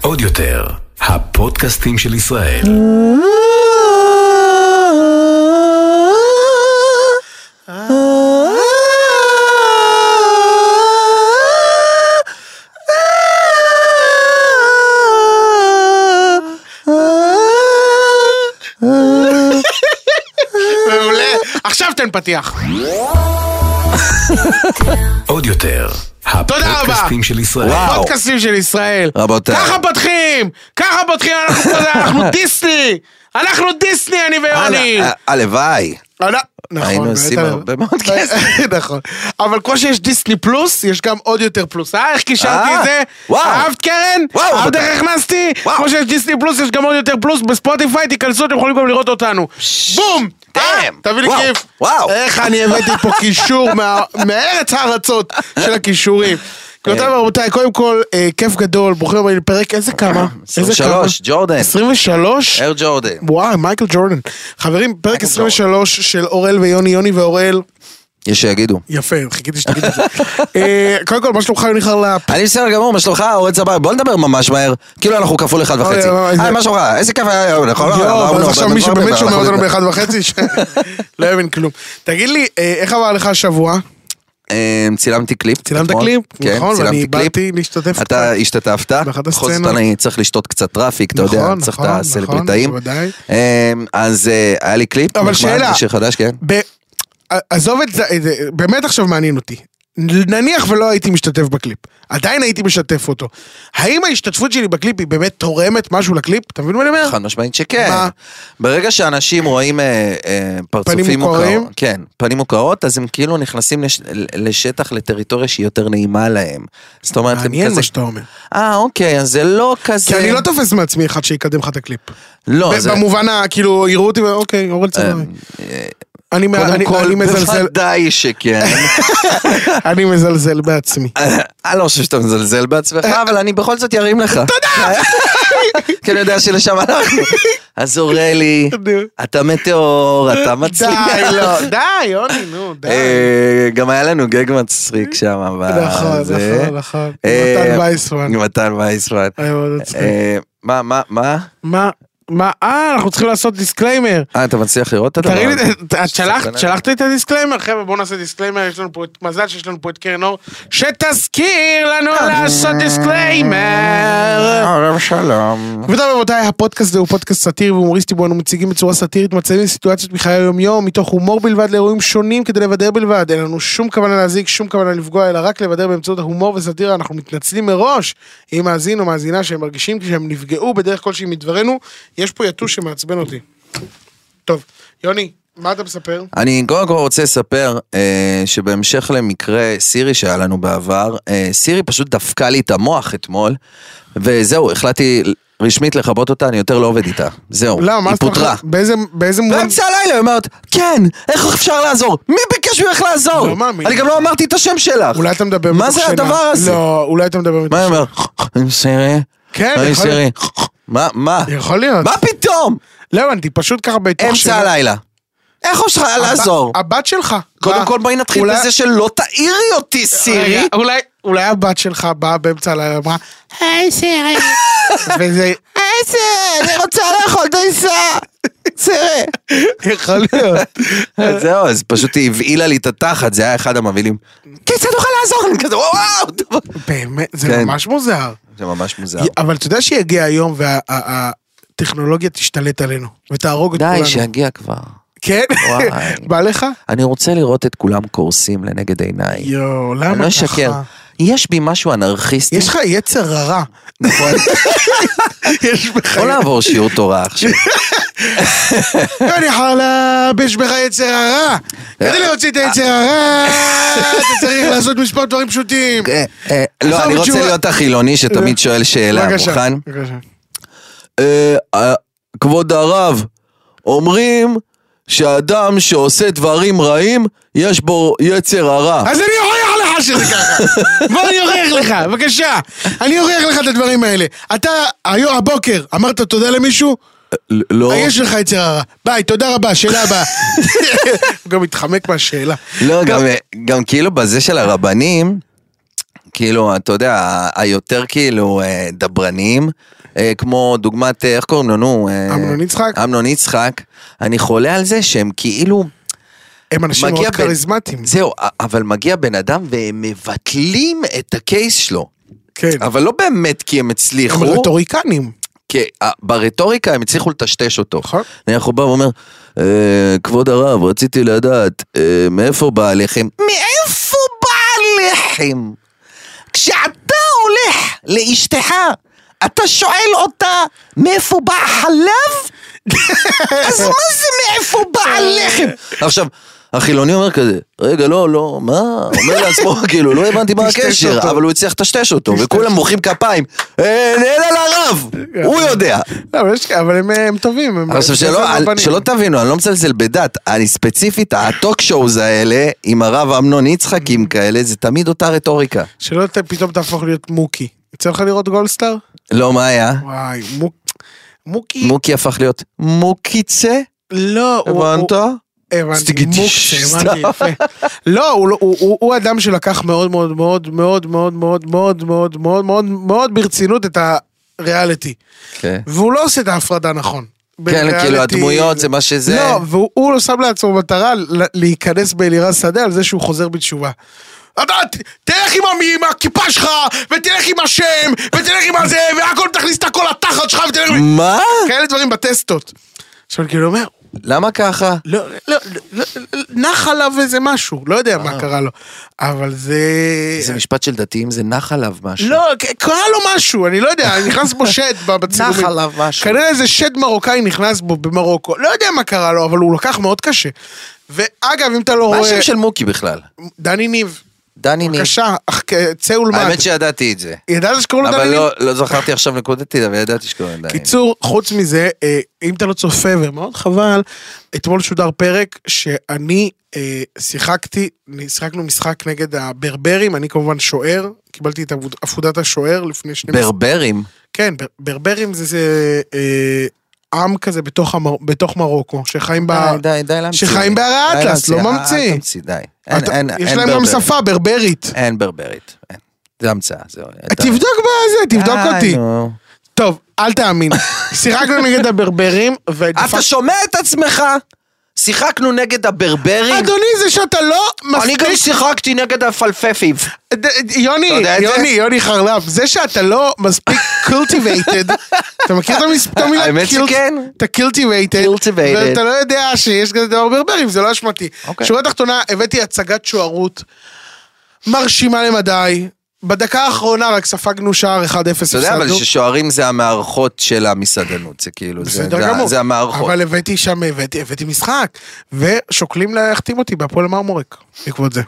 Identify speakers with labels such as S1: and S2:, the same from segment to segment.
S1: עוד יותר, הפודקאסטים של ישראל.
S2: מעולה. עכשיו תן פתיח.
S1: עוד יותר, הפודקאסטים של ישראל.
S3: וואו.
S2: פודקאסטים של ישראל.
S3: רבותיי.
S2: ככה פותחים! ככה פותחים, אנחנו כזה, אנחנו דיסני! אנחנו דיסני, אני ויוני!
S3: אה, הלוואי.
S2: אה, לא, נכון,
S3: היינו עושים
S2: באמת,
S3: הרבה מאוד כסף.
S2: נכון. אבל כמו שיש דיסני פלוס, יש גם עוד יותר פלוס. אה, איך קישרתי
S3: אה,
S2: את זה?
S3: וואו.
S2: אהבת קרן?
S3: וואו,
S2: אהבת
S3: אבל-
S2: איך הכנסתי?
S3: וואו.
S2: כמו שיש דיסני פלוס, יש גם עוד יותר פלוס. בספוטיפיי, תיכנסו, אתם יכולים גם לראות אותנו. בום! אה,
S3: דאם.
S2: תביא לי
S3: וואו,
S2: כיף.
S3: וואו.
S2: איך אני הבאתי פה קישור מה- מארץ הארצות של הכישורים. גבירותיי ורבותיי, קודם כל, אה, כיף גדול, ברוכים הבאים לפרק, איזה כמה? איזה
S3: 23,
S2: כמה?
S3: ג'ורדן.
S2: 23?
S3: אר ג'ורדן.
S2: וואי, מייקל ג'ורדן. חברים, פרק 23 של אוראל ויוני, יוני ואוראל.
S3: יש שיגידו.
S2: יפה, חיכיתי שתגיד את זה. אה, קודם כל, מה שלומך יוני חרלפ?
S3: אני בסדר גמור, מה שלומך? אורן סבבה, בוא נדבר ממש מהר. כאילו אנחנו כפול אחד וחצי.
S2: אוי, אוי,
S3: היי,
S2: אוי.
S3: מה שלומך? איזה כיף היה היום, נכון?
S2: יואו,
S3: עברנו
S2: ואז
S3: הרבה
S2: עכשיו
S3: דברים,
S2: מי שבאמת
S3: ואנחנו
S2: שומע אותנו
S3: נדבר.
S2: באחד וחצי, שלא הבין כלום. תגיד לי, אה, איך עבר לך השבוע?
S3: אה, צילמתי קליפ.
S2: צילמת
S3: אתמול.
S2: קליפ?
S3: כן,
S2: נכון, ואני
S3: צילמתי קליפ.
S2: באתי להשתתף.
S3: אתה השתתפת,
S2: באחת
S3: בכל זאת
S2: הסצנות.
S3: אני צריך לשתות קצת טראפיק, אתה יודע,
S2: נכון,
S3: צריך את
S2: נכון,
S3: הסלבריטאים.
S2: נכון, בוודאי.
S3: אה, אז אה, היה לי קליפ,
S2: אבל
S3: נחמד,
S2: שאלה.
S3: שיר חדש, כן.
S2: ב- עזוב את זה, את זה, באמת עכשיו מעניין אותי. נניח ולא הייתי משתתף בקליפ, עדיין הייתי משתף אותו. האם ההשתתפות שלי בקליפ היא באמת תורמת משהו לקליפ? אתה מבין מה אני אומר?
S3: חד משמעית שכן.
S2: מה?
S3: ברגע שאנשים רואים אה, אה, פרצופים
S2: פנים מוכרים?
S3: מוכרות, כן, פנים מוכרות, אז הם כאילו נכנסים לש, לשטח, לטריטוריה שהיא יותר נעימה להם. זאת אומרת, הם
S2: מעניין
S3: כזה...
S2: מה שאתה אומר.
S3: אה, אוקיי, אז זה לא כזה...
S2: כי אני לא תופס מעצמי אחד שיקדם לך את הקליפ.
S3: לא,
S2: ב-
S3: זה... אמ,
S2: במובן ה... כאילו, יראו אותי, אוקיי, אורל צברי. אני מ-
S3: קודם
S2: אני-
S3: כל,
S2: אני מזלזל,
S3: בוודאי שכן.
S2: אני מזלזל בעצמי.
S3: אני לא חושב שאתה מזלזל בעצמך,
S2: אה,
S3: אבל אני בכל זאת ירים לך. תודה! כי אני יודע שלשם הלכנו. אז אורלי, אתה מטאור, אתה
S2: די,
S3: מצליח.
S2: לא, די, יוני, נו, די.
S3: אה, גם היה לנו גג מצחיק שם, אבל...
S2: נכון,
S3: זה-
S2: נכון, נכון.
S3: אה,
S2: מתן וייסמן.
S3: עם מתן וייסמן.
S2: היה מאוד מצחיק.
S3: אה, מה, מה, מה?
S2: מה, מה, אה, אנחנו צריכים לעשות דיסקליימר.
S3: אה, אתה מצליח לראות את הדבר?
S2: תראי לי,
S3: הזה?
S2: את
S3: לא,
S2: שלחת, שלחת לי את הדיסקליימר? חבר'ה, בואו נעשה דיסקליימר, יש לנו פה את, מזל שיש לנו פה את קרן אור, שתזכיר לנו
S3: אה.
S2: לעשות דיסקליימר.
S3: ערב שלום.
S2: גבירותיי ורבותיי, הפודקאסט הזה הוא פודקאסט סאטירי והומוריסטי בו אנו מציגים בצורה סאטירית מצבים וסיטואציות מחיי היום-יום, מתוך הומור בלבד לאירועים שונים כדי לבדר בלבד. אין לנו שום כוונה להזיק, שום כוונה לפגוע, אלא רק לבדר באמצעות ההומור וסאטירה. אנחנו מתנצלים מראש אם מאזין או מאזינה שהם מרגישים כשהם נפגעו בדרך כלשהי מדברנו. יש פה יתוש שמעצבן אותי. טוב, יוני, מה אתה מספר?
S3: אני קודם כל רוצה לספר אה, שבהמשך למקרה סירי שהיה לנו בעבר, אה, סירי פשוט דפקה לי את המוח אתמול, וזהו, החלטתי רשמית לכבות אותה, אני יותר לא עובד איתה. זהו,
S2: למה, לא, מה
S3: היא
S2: אתה
S3: פוטרה.
S2: מחליט? באיזה- באיזה מובן?
S3: באמצע הלילה היא אומרת, כן, איך אפשר לעזור? מי ביקש ממך לעזור?
S2: לא מאמין.
S3: אני גם לא אמרתי את השם שלך.
S2: אולי אתה מדבר
S3: מה
S2: מתוך
S3: זה
S2: שינה.
S3: הדבר הזה?
S2: לא, אולי אתה מדבר
S3: מה
S2: מתוך
S3: היא אומרת? אני סירי?
S2: כן,
S3: אני
S2: יכול
S3: סירי. מה, מה?
S2: יכול להיות.
S3: מה פתאום?
S2: לא הבנתי, פשוט ככה בתוך
S3: אמצע הלילה. איך אפשר לעזור?
S2: הבת- הבת שלך.
S3: קודם
S2: באה-
S3: כל בואי נתחיל
S2: אולי-
S3: בזה שלא תעירי אותי,
S2: רגע,
S3: סירי.
S2: אולי- אולי הבת שלך באה באמצע הלילה ואמרה, היי סירי. וזה
S3: אה, איזה, אני רוצה לאכול דייסה. סירי.
S2: יכול להיות.
S3: אז אה, זהו, אז פשוט היא הבעילה לי את התחת, זה היה אחד המבהילים. כיצד אוכל לעזור? אני כזה וואו, דבר."
S2: באמת, זה
S3: כן.
S2: ממש מוזר.
S3: זה ממש מוזר.
S2: אבל אתה יודע שיגיע היום והטכנולוגיה תשתלט עלינו ותהרוג את
S3: די,
S2: כולנו.
S3: שיגיע כבר.
S2: כן?
S3: וואי.
S2: בא לך?
S3: אני רוצה לראות את כולם קורסים לנגד עיניי.
S2: יואו, למה
S3: אני
S2: ככה?
S3: לא אשקר. יש בי משהו אנרכיסטי.
S2: יש לך יצר רע.
S3: נכון.
S2: יש בך...
S3: בוא נעבור לא שיעור תורה עכשיו.
S2: אני חלב, יש בך יצר הרע.
S3: כן.
S2: כדי להוציא את
S3: אה.
S2: היצר הרע, אתה צריך לעשות מספר דברים פשוטים.
S3: אה, אה, לא, אני רוצה
S2: תשובה.
S3: להיות החילוני שתמיד שואל שאלה,
S2: בבקשה,
S3: מוכן?
S2: בבקשה.
S3: אה, אה, כבוד הרב, אומרים שאדם שעושה דברים רעים, יש בו יצר הרע.
S2: אז אני אוכיח לך שזה ככה. בוא אני אוכיח לך, בבקשה. אני אוכיח לך את הדברים האלה. אתה היום הבוקר אמרת תודה למישהו?
S3: ל- לא,
S2: אה, יש לך יצר הרע. ביי, תודה רבה, שאלה הבאה. הוא גם התחמק מהשאלה.
S3: לא, גם- גם כאילו בזה של הרבנים, כאילו, אתה יודע, ה- היותר כאילו אה, דברניים, אה, כמו דוגמת, אה, איך קוראים לו, נו? אה,
S2: אמנון יצחק.
S3: אמנון יצחק. אני חולה על זה שהם כאילו...
S2: הם אנשים
S3: מגיע
S2: מאוד
S3: בן-
S2: כריזמטיים.
S3: זהו, א- אבל מגיע בן אדם והם מבטלים את הקייס שלו.
S2: כן.
S3: אבל לא באמת כי הם
S2: הם
S3: הצליחו,
S2: רטוריקנים.
S3: כי אה, ברטוריקה הם הצליחו לטשטש אותו.
S2: נכון.
S3: נניח הוא בא ואומר, "אה, כבוד הרב, רציתי לדעת, אה, מאיפה בא הלחם? מאיפה בא הלחם? כשאתה הולך לאשתך, אתה שואל אותה, מאיפה בא החלב? אז מה זה מאיפה בא הלחם? עכשיו, החילוני אומר כזה, רגע, לא, לא, מה? אומר לעצמו, כאילו, לא הבנתי מה
S2: טשטש
S3: הקשר,
S2: אותו.
S3: אבל הוא הצליח לטשטש אותו,
S2: טשטש.
S3: וכולם מוחאים כפיים, אין אלא לרב, הוא יודע.
S2: לא, אבל יש- אבל הם- הם טובים. הם-
S3: עכשיו
S2: זה
S3: שלא, אל-
S2: רבנים.
S3: שלא תבינו, אני לא מזלזל בדת, אני ספציפית, הטוק שואוז האלה, עם הרב אמנון יצחקים כאלה, זה תמיד אותה רטוריקה.
S2: שלא ת- פתאום תהפוך להיות מוקי. יצא לך לראות גולדסטאר?
S3: לא, מה היה?
S2: וואי, מוק... מוקי...
S3: מוקי הפך להיות מוקיצה,
S2: לא, הוא- הוא-
S3: הבנת?
S2: הבנתי,
S3: סטיגי דיש.
S2: מוקצה, הבנתי, יפה. לא, הוא לא- הוא- הוא- הוא אדם שלקח מאוד מאוד מאוד מאוד מאוד מאוד מאוד מאוד מאוד מאוד מאוד ברצינות את הריאליטי.
S3: כן,
S2: והוא לא עושה את ההפרדה נכון. בין
S3: כן, כאילו
S2: ריאליטי-
S3: הדמויות זה מה שזה.
S2: לא, והוא הוא לא שם לעצמו מטרה ל- להיכנס באלירז שדה על זה שהוא חוזר בתשובה. אתה ת- תלך עם המי- עם הכיפה שלך, ותלך עם השם, ותלך עם הזה, והכל תכניס את הכל לתחת שלך, ותלך עם...
S3: מה?
S2: כאלה דברים בטסטות. עכשיו אני כאילו אומר,
S3: למה ככה?
S2: לא, לא, לא, לא, נח עליו איזה משהו, לא יודע מה קרה לו, אבל זה...
S3: אה. זה משפט של דתיים, זה נח עליו משהו.
S2: לא, ק- קרה לו משהו, אני לא יודע, נכנס בו שד ב- בצילומים.
S3: נח עליו משהו.
S2: כנראה איזה שד מרוקאי נכנס בו במרוקו, לא יודע מה קרה לו, אבל הוא לקח מאוד קשה. ואגב, אם אתה לא
S3: מה השם
S2: רואה...
S3: של מוקי בכלל?
S2: דני ניב,
S3: דני ניב.
S2: בבקשה, אך- כ- צא ולמד.
S3: האמת שידעתי את זה.
S2: ידעת שקוראים לו
S3: אבל
S2: דני ניב?
S3: לא- לא זכרתי עכשיו נקודתית, אבל ידעתי שקוראים דני ניב.
S2: קיצור, חוץ מזה, אה, אם אתה לא צופה, ומאוד חבל, אתמול שודר פרק שאני אה, שיחקתי, שיחקנו משחק נגד הברברים, אני כמובן שוער, קיבלתי את עבוד- עפודת השוער לפני שני...
S3: ברברים?
S2: כן, בר- ברברים זה, זה אה, עם כזה בתוך, המר... בתוך מרוקו, שחיים ב...
S3: די, די, די להמציא.
S2: שחיים בהרי
S3: די
S2: האטלס,
S3: להמציא,
S2: לא
S3: אה, אל
S2: ממציא.
S3: תמציא, די. אין,
S2: אתה-
S3: אין, אה,
S2: יש
S3: אין
S2: להם גם
S3: ברברית.
S2: שפה ברברית. אה,
S3: אין ברברית. אין. זה המצאה, זהו. אתה-
S2: תבדוק בזה, תבדוק
S3: די,
S2: אותי.
S3: אה, נו.
S2: טוב, אל תאמין. שיחקנו נגד הברברים,
S3: אתה
S2: ודפקנו...
S3: שומע את עצמך? שיחקנו נגד הברברים?
S2: אדוני, זה שאתה לא
S3: אני גם
S2: מספיק
S3: שיחקתי נגד הפלפפים.
S2: ד- ד- יוני,
S3: אתה יודע את זה?
S2: יוני, יוני חרלב, זה שאתה לא מספיק cultivated, אתה מכיר את המס- את המילה?
S3: האמת
S2: cult-
S3: שכן.
S2: אתה cultivated,
S3: Cultivated.
S2: ואתה לא יודע שיש כזה דבר ברברים, זה לא אשמתי.
S3: אוקיי.
S2: שורה תחתונה, הבאתי הצגת שוערות מרשימה למדי, בדקה האחרונה רק ספגנו שער 1-0,
S3: אתה יודע, אבל
S2: הפסדנו.
S3: ששוערים זה המערכות של המסעדנות, זה כאילו, זה-
S2: בסדר
S3: זה-
S2: גמור.
S3: זה המערכות.
S2: אבל הבאתי שם, הבאתי הבאתי משחק, ושוקלים להחתים אותי בהפועל מרמורק, בעקבות זה,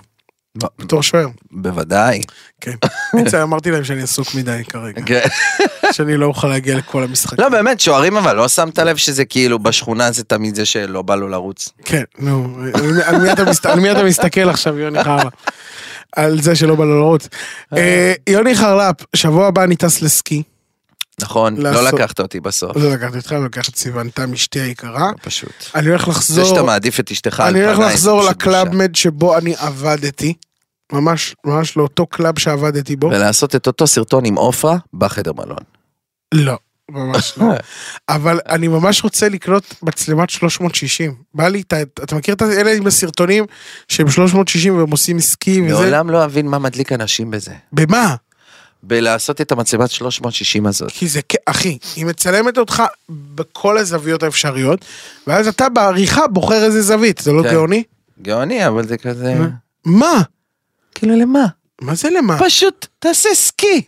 S3: ב-
S2: בתור שוער.
S3: בוודאי.
S2: כן. בעצם אמרתי להם שאני עסוק מדי כרגע. שאני לא אוכל להגיע לכל המשחקים.
S3: לא, באמת, שוערים אבל, לא שמת לב שזה כאילו בשכונה זה תמיד זה שלא בא לו לרוץ.
S2: כן, נו, על- על מי אתה מסת- על מי אתה מסתכל עכשיו, יוני חרלפ? על זה שלא בא לו לרוץ. אה, יוני חרלפ, שבוע הבא אני טס לסקי.
S3: נכון, לא
S2: לעשות.
S3: לקחת אותי בסוף,
S2: לא לקחתי אותך, אני לוקח את סיוון תם, אשתי היקרה.
S3: לא, פשוט.
S2: אני הולך
S3: זה שאתה
S2: לחזור,
S3: מעדיף את אשתך על
S2: אני
S3: פניי,
S2: הולך
S3: זה
S2: לחזור
S3: פשוט בושה.
S2: לקלאבמד שבו אני עבדתי. ממש, ממש לאותו קלאב שעבדתי בו.
S3: ולעשות את אותו סרטון עם עופרה בחדר מלון.
S2: לא, ממש לא. אבל אני ממש רוצה לקנות מצלמת 360. בא לי, אתה, אתה מכיר את אלה עם הסרטונים שהם 360 והם עושים עסקי וזה?
S3: לעולם לא אבין מה מדליק אנשים בזה.
S2: במה?
S3: בלעשות את המצלמת 360 הזאת.
S2: כי זה, כ- אחי, היא מצלמת אותך בכל הזוויות האפשריות, ואז אתה בעריכה בוחר איזה זווית, זה לא
S3: כן.
S2: גאוני?
S3: גאוני, אבל זה כזה...
S2: מה?
S3: כאילו למה?
S2: מה זה למה?
S3: פשוט תעשה סקי.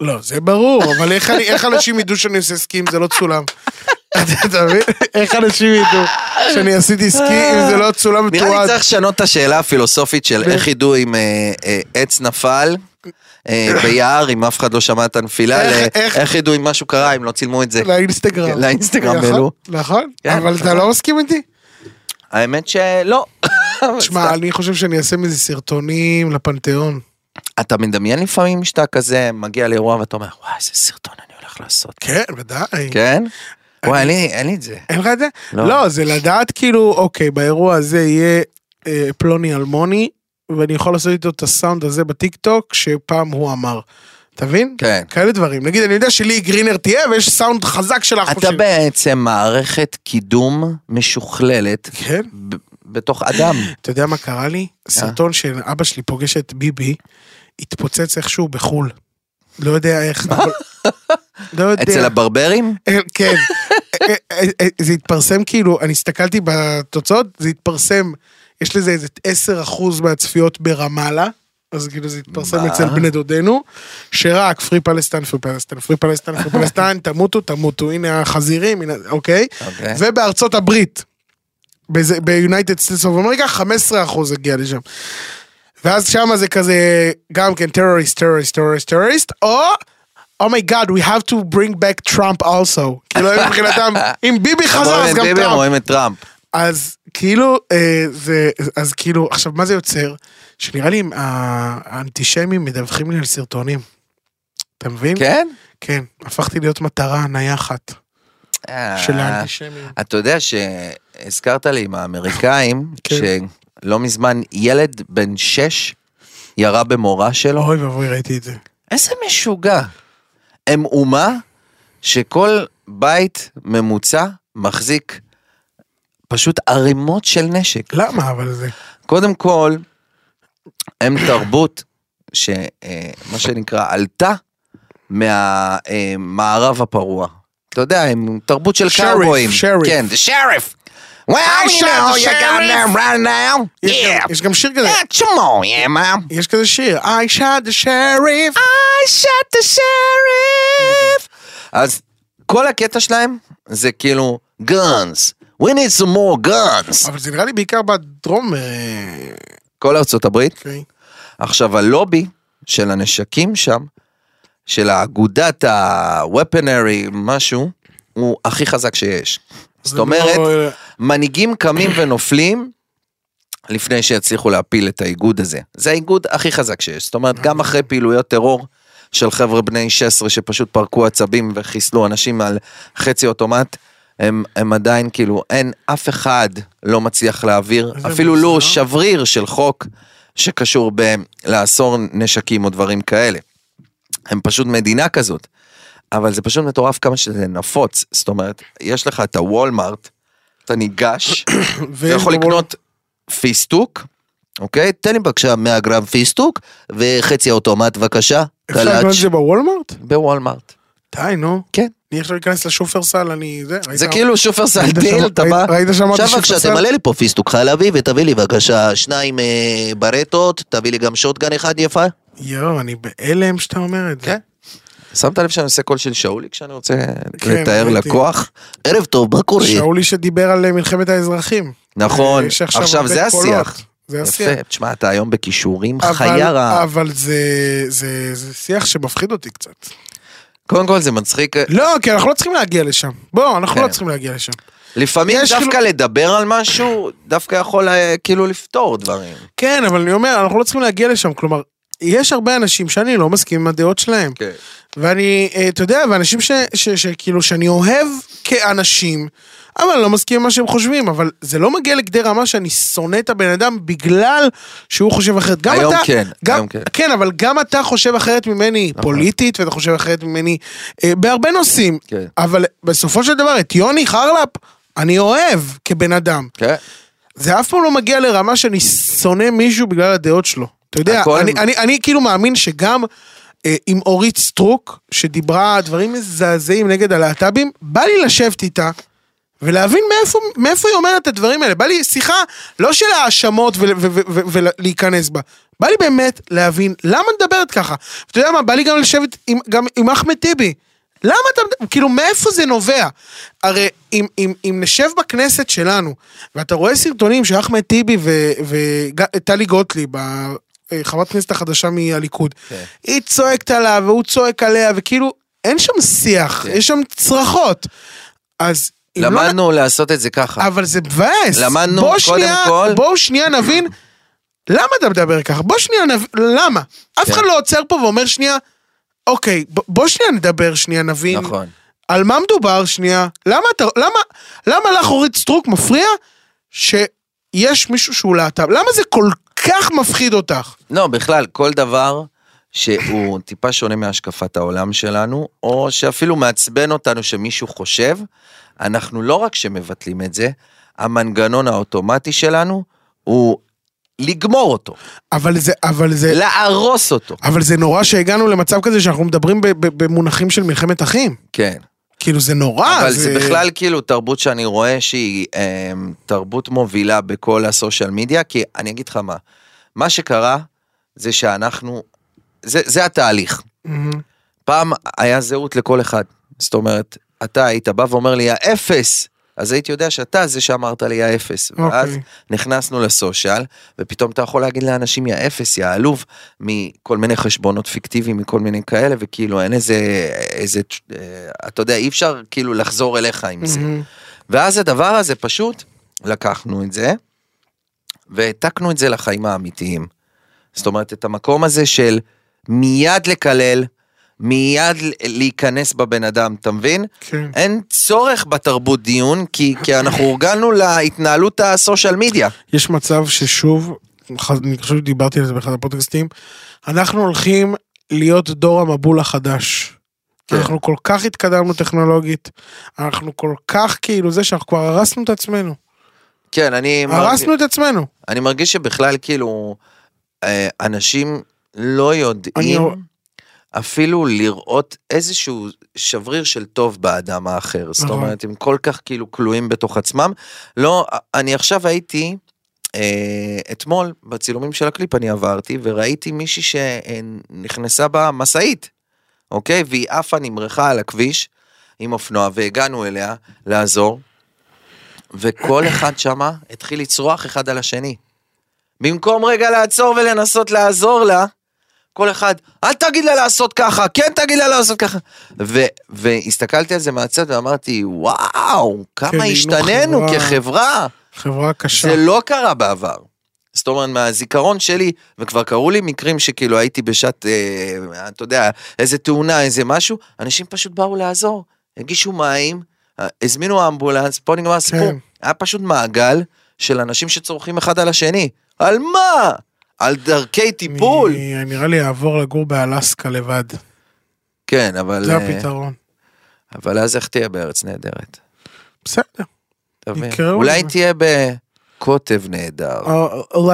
S2: לא, זה ברור, אבל איך אני- איך אנשים ידעו שאני עושה סקי אם זה לא צולם? אתה אתה מבין? איך אנשים ידעו שאני עשיתי סקי אם זה לא צולם
S3: נראה לי
S2: מתועד?
S3: צריך לשנות את השאלה הפילוסופית של איך ידעו אם אה, אה, עץ נפל. אה, ביער, אם אף אחד לא שמע את הנפילה,
S2: איך-
S3: ל-
S2: איך-
S3: איך ידעו אם משהו קרה, אם לא צילמו את זה.
S2: לאינסטגרם.
S3: כן, לאינסטגרם,
S2: נכון,
S3: ולו.
S2: נכון,
S3: כן,
S2: אבל אתה
S3: נכון.
S2: לא מסכים איתי?
S3: האמת שלא. לא
S2: תשמע, אני חושב שאני אעשה מזה סרטונים לפנתיאון.
S3: אתה מדמיין לפעמים שאתה כזה מגיע לאירוע ואתה אומר, וואי, איזה סרטון אני הולך לעשות.
S2: כן, ודאי.
S3: כן?
S2: אה,
S3: וואי, אין לי- אין לי את זה.
S2: אין לך את זה?
S3: לא.
S2: לא, זה לדעת כאילו, אוקיי, באירוע הזה יהיה אה, פלוני אלמוני, ואני יכול לעשות איתו את הסאונד הזה בטיקטוק שפעם הוא אמר. אתה מבין?
S3: כן.
S2: כאלה דברים. נגיד, אני יודע שלי גרינר תהיה ויש סאונד חזק של האחוזים.
S3: אתה בעצם מערכת קידום משוכללת
S2: כן.
S3: ב- בתוך אדם.
S2: אתה יודע מה קרה לי? סרטון של אבא שלי פוגש את ביבי, התפוצץ איכשהו בחו"ל. לא יודע איך. אבל- לא יודע.
S3: אצל הברברים?
S2: כן. אה, זה התפרסם כאילו, אני הסתכלתי בתוצאות, זה התפרסם, יש לזה איזה 10% מהצפיות ברמאללה. אז כאילו זה התפרסם
S3: מה?
S2: אצל בני דודינו, שרק פרי פלסטיין, פרי פלסטיין, פרי פלסטיין, פרי פלסטיין, תמותו, תמותו, הנה החזירים, הנה, אוקיי?
S3: אוקיי.
S2: ובארצות הברית, ביונייטד סטייטס אוף אמריקה, 15% הגיע לשם. ואז שם זה כזה, גם כן, טרוריסט, טרוריסט, טרוריסט, טרוריסט, או, אומייגאד, we have to bring back Trump also. כאילו, הם מבחינתם, אם ביבי חזר, אז
S3: רואים את
S2: גם
S3: ביבי,
S2: טראמפ.
S3: רואים את טראמפ.
S2: אז כאילו, אה, זה, אז כאילו, עכשיו, מה זה יוצר? שנראה לי אה, האנטישמים מדווחים לי על סרטונים. אתה מבין?
S3: כן?
S2: כן. הפכתי להיות מטרה נייחת של
S3: אה,
S2: האנטישמים.
S3: אתה יודע שהזכרת לי עם האמריקאים,
S2: כן.
S3: שלא מזמן ילד בן שש ירה במורה שלו.
S2: לא אוי ואבוי, ראיתי את זה.
S3: איזה משוגע. הם אומה שכל בית ממוצע מחזיק פשוט ערימות של נשק.
S2: למה אבל זה?
S3: קודם כל, הם תרבות שמה שנקרא עלתה מהמערב הפרוע. אתה יודע, הם תרבות של
S2: שריף,
S3: קאובויים.
S2: שריף.
S3: כן, the sheriff. Well,
S2: Hi,
S3: you
S2: sheriff,
S3: know, you got them
S2: sheriff.
S3: right now.
S2: יש גם-
S3: Yeah.
S2: יש גם שיר כזה.
S3: Yeah, come on, yeah, mom.
S2: יש כזה שיר, I shot the sheriff.
S3: I shot the sheriff. אז כל הקטע שלהם זה כאילו guns. We need some more guns.
S2: אבל זה נראה לי בעיקר בדרום, אה,
S3: כל ארצות הברית.
S2: אוקיי.
S3: עכשיו הלובי של הנשקים שם, של האגודת ה-weaponary משהו, הוא הכי חזק שיש. זאת
S2: זה
S3: אומרת,
S2: לא-
S3: מנהיגים קמים ונופלים לפני שיצליחו להפיל את האיגוד הזה. זה האיגוד הכי חזק שיש. זאת אומרת, גם אחרי פעילויות טרור של חבר'ה בני 16 שפשוט פרקו עצבים וחיסלו אנשים על חצי אוטומט, הם, הם עדיין כאילו, אין, אף אחד לא מצליח להעביר
S2: איזה
S3: אפילו לא
S2: מוזר.
S3: שבריר של חוק שקשור בלאסור נשקים או דברים כאלה. הם פשוט מדינה כזאת. אבל זה פשוט מטורף כמה שזה נפוץ. זאת אומרת, יש לך את הוולמארט, אתה ניגש, אתה
S2: ויש
S3: יכול
S2: גם-
S3: לקנות פיסטוק, אוקיי? תן לי בבקשה 100 גרם פיסטוק וחצי אוטומט בבקשה,
S2: אפשר לקנות
S3: קלאץ',
S2: את זה בוולמארט?
S3: בוולמארט.
S2: די, נו.
S3: כן.
S2: אני עכשיו אכנס לשופרסל, אני... זה
S3: זה
S2: ראית-
S3: כאילו שופרסל
S2: ראית
S3: דיל,
S2: שם-
S3: אתה
S2: ראית-
S3: בא,
S2: ראית שאמרתי
S3: עכשיו בבקשה
S2: שופרסל?
S3: תמלא לי פה פיסטוק חלבי ותביא לי בבקשה שניים אה, ברטות, תביא לי גם שוטגן אחד יפה.
S2: יואו, אני בהלם שאתה אומר את זה.
S3: כן. שמת לב שאני עושה קול של שאולי כשאני רוצה לתאר
S2: כן, ראיתי.
S3: לקוח? ערב טוב, מה קורה?
S2: שאולי שדיבר על אה, מלחמת האזרחים.
S3: נכון,
S2: יש עכשיו
S3: עכשיו
S2: הרבה
S3: זה
S2: קולות.
S3: השיח.
S2: זה השיח.
S3: יפה, תשמע, אתה היום בכישורים
S2: אבל-
S3: חיה רעה.
S2: אבל זה- זה זה שיח שמפחיד אותי קצת.
S3: קודם כל זה מצחיק, אה,
S2: לא, כי אנחנו לא צריכים להגיע לשם. בוא, אנחנו לא
S3: כן.
S2: צריכים להגיע לשם.
S3: לפעמים
S2: יש
S3: דווקא
S2: כאילו-
S3: לדבר על משהו, דווקא יכול אה, כאילו לפתור דברים.
S2: כן, אבל אני אומר, אנחנו לא צריכים להגיע לשם. כלומר, יש הרבה אנשים שאני לא מסכים עם הדעות שלהם.
S3: כן.
S2: ואני, אה, אתה יודע, ואנשים ש- ש- שכאילו, שאני אוהב כאנשים, אבל אני לא מסכים עם מה שהם חושבים, אבל זה לא מגיע לכדי רמה שאני שונא את הבן אדם בגלל שהוא חושב אחרת. גם
S3: היום
S2: אתה,
S3: כן,
S2: גם,
S3: היום כן. נכון.
S2: כן, אבל גם אתה חושב אחרת ממני פוליטית, ואתה חושב אחרת ממני אה, בהרבה נושאים.
S3: כן.
S2: אבל בסופו של דבר, את יוני חרלפ, אני אוהב כבן אדם.
S3: כן.
S2: זה אף פעם לא מגיע לרמה שאני שונא מישהו בגלל הדעות שלו. אתה יודע,
S3: הכל-
S2: הכל... אני, אני, אני כאילו מאמין שגם אה, עם אורית סטרוק, שדיברה דברים מזעזעים נגד הלהט"בים, בא לי לשבת איתה. ולהבין מאיפה, מאיפה היא אומרת את הדברים האלה. בא לי שיחה לא של האשמות ולהיכנס בה. בא לי באמת להבין למה את מדברת ככה. אתה יודע מה, בא לי גם לשבת עם, גם עם אחמד טיבי. למה אתה, מד- כאילו מאיפה זה נובע? הרי אם, אם, אם נשב בכנסת שלנו, ואתה רואה סרטונים שאחמד טיבי וטלי גוטליב, ה- אה, חברת כנסת החדשה מהליכוד,
S3: כן.
S2: היא צועקת עליו והוא צועק עליה, וכאילו אין שם שיח, יש שם צרחות. אז אם לא נ-
S3: כן. למדנו לעשות את זה ככה.
S2: אבל זה מבאס.
S3: למדנו,
S2: בוא
S3: קודם
S2: שנייה,
S3: כל-
S2: בואו שנייה נבין, למה אתה מדבר ככה? בוא שנייה נבין, למה? אף
S3: כן.
S2: אחד לא עוצר פה ואומר שנייה, אוקיי, ב- בוא שנייה נדבר, שנייה נבין.
S3: נכון.
S2: על מה מדובר שנייה? למה אתה, למה, למה לך אורית סטרוק מפריע שיש מישהו שהוא להט"ב? למה זה כל כך מפחיד אותך.
S3: לא, בכלל, כל דבר שהוא טיפה שונה מהשקפת העולם שלנו, או שאפילו מעצבן אותנו שמישהו חושב, אנחנו לא רק שמבטלים את זה, המנגנון האוטומטי שלנו הוא לגמור אותו,
S2: אבל זה, אבל זה,
S3: להרוס אותו.
S2: אבל זה נורא שהגענו למצב כזה שאנחנו מדברים ב- ב- במונחים של מלחמת אחים.
S3: כן.
S2: כאילו זה נורא.
S3: אבל זה בכלל כאילו תרבות שאני רואה שהיא אה, תרבות מובילה בכל הסושיאל מדיה, כי אני אגיד לך מה, מה שקרה זה שאנחנו, זה, זה התהליך.
S2: מהמם.
S3: פעם היה זהות לכל אחד. זאת אומרת, אתה היית בא ואומר לי האפס, אז הייתי יודע שאתה זה שאמרת לי האפס.
S2: אוקיי.
S3: ואז נכנסנו לסושיאל, ופתאום אתה יכול להגיד לאנשים יא אפס, יא עלוב, מכל מיני חשבונות פיקטיביים, מכל מיני כאלה, וכאילו אין איזה, איזה, אה, אתה יודע, אי אפשר כאילו לחזור אליך עם זה.
S2: מהמם.
S3: ואז הדבר הזה פשוט, לקחנו את זה, והעתקנו את זה לחיים האמיתיים. זאת אומרת, את המקום הזה של מיד לקלל, מיד להיכנס בבן אדם, אתה מבין?
S2: כן.
S3: אין צורך בתרבות דיון, כי, כי אנחנו הורגלנו להתנהלות הסושיאל מדיה.
S2: יש מצב ששוב, אני חושב שדיברתי על זה באחד הפודקאסטים, אנחנו הולכים להיות דור המבול החדש.
S3: כן.
S2: אנחנו כל כך התקדמנו טכנולוגית, אנחנו כל כך כאילו זה שאנחנו כבר הרסנו את עצמנו.
S3: כן, אני... מרגיש-
S2: הרסנו את עצמנו.
S3: אני מרגיש שבכלל כאילו אה, אנשים לא
S2: אני-
S3: יודעים אפילו לראות איזשהו שבריר של טוב באדם האחר. זאת
S2: נכון.
S3: אומרת, הם כל כך כאילו כלואים בתוך עצמם. לא, אני עכשיו הייתי, אה, אתמול בצילומים של הקליפ אני עברתי וראיתי מישהי שנכנסה בה משאית, אוקיי? והיא עפה נמרחה על הכביש עם אופנוע והגענו אליה לעזור. וכל אחד שמה התחיל לצרוח אחד על השני. במקום רגע לעצור ולנסות לעזור לה, כל אחד, אל תגיד לה לעשות ככה, כן תגיד לה לעשות ככה. ו- והסתכלתי על זה מהצד ואמרתי, וואו,
S2: כן,
S3: כמה
S2: היינו
S3: השתננו
S2: חברה-
S3: כחברה.
S2: חברה קשה.
S3: זה לא קרה בעבר. זאת אומרת, מהזיכרון שלי, וכבר קרו לי מקרים שכאילו הייתי בשעת, אה, אתה יודע, איזה תאונה, איזה משהו, אנשים פשוט באו לעזור, הגישו מים, אה, הזמינו אמבולנס, פה נגמר הסיפור.
S2: כן.
S3: היה פשוט מעגל של אנשים שצורכים אחד על השני. על מה? על דרכי טיפול.
S2: אני- נראה לי אעבור לגור באלסקה לבד.
S3: כן, אבל...
S2: זה
S3: אה,
S2: הפתרון.
S3: אבל אז איך תהיה בארץ נהדרת?
S2: בסדר.
S3: אתה מבין?
S2: יקראו
S3: אולי
S2: לזה.
S3: תהיה בקוטב נהדר.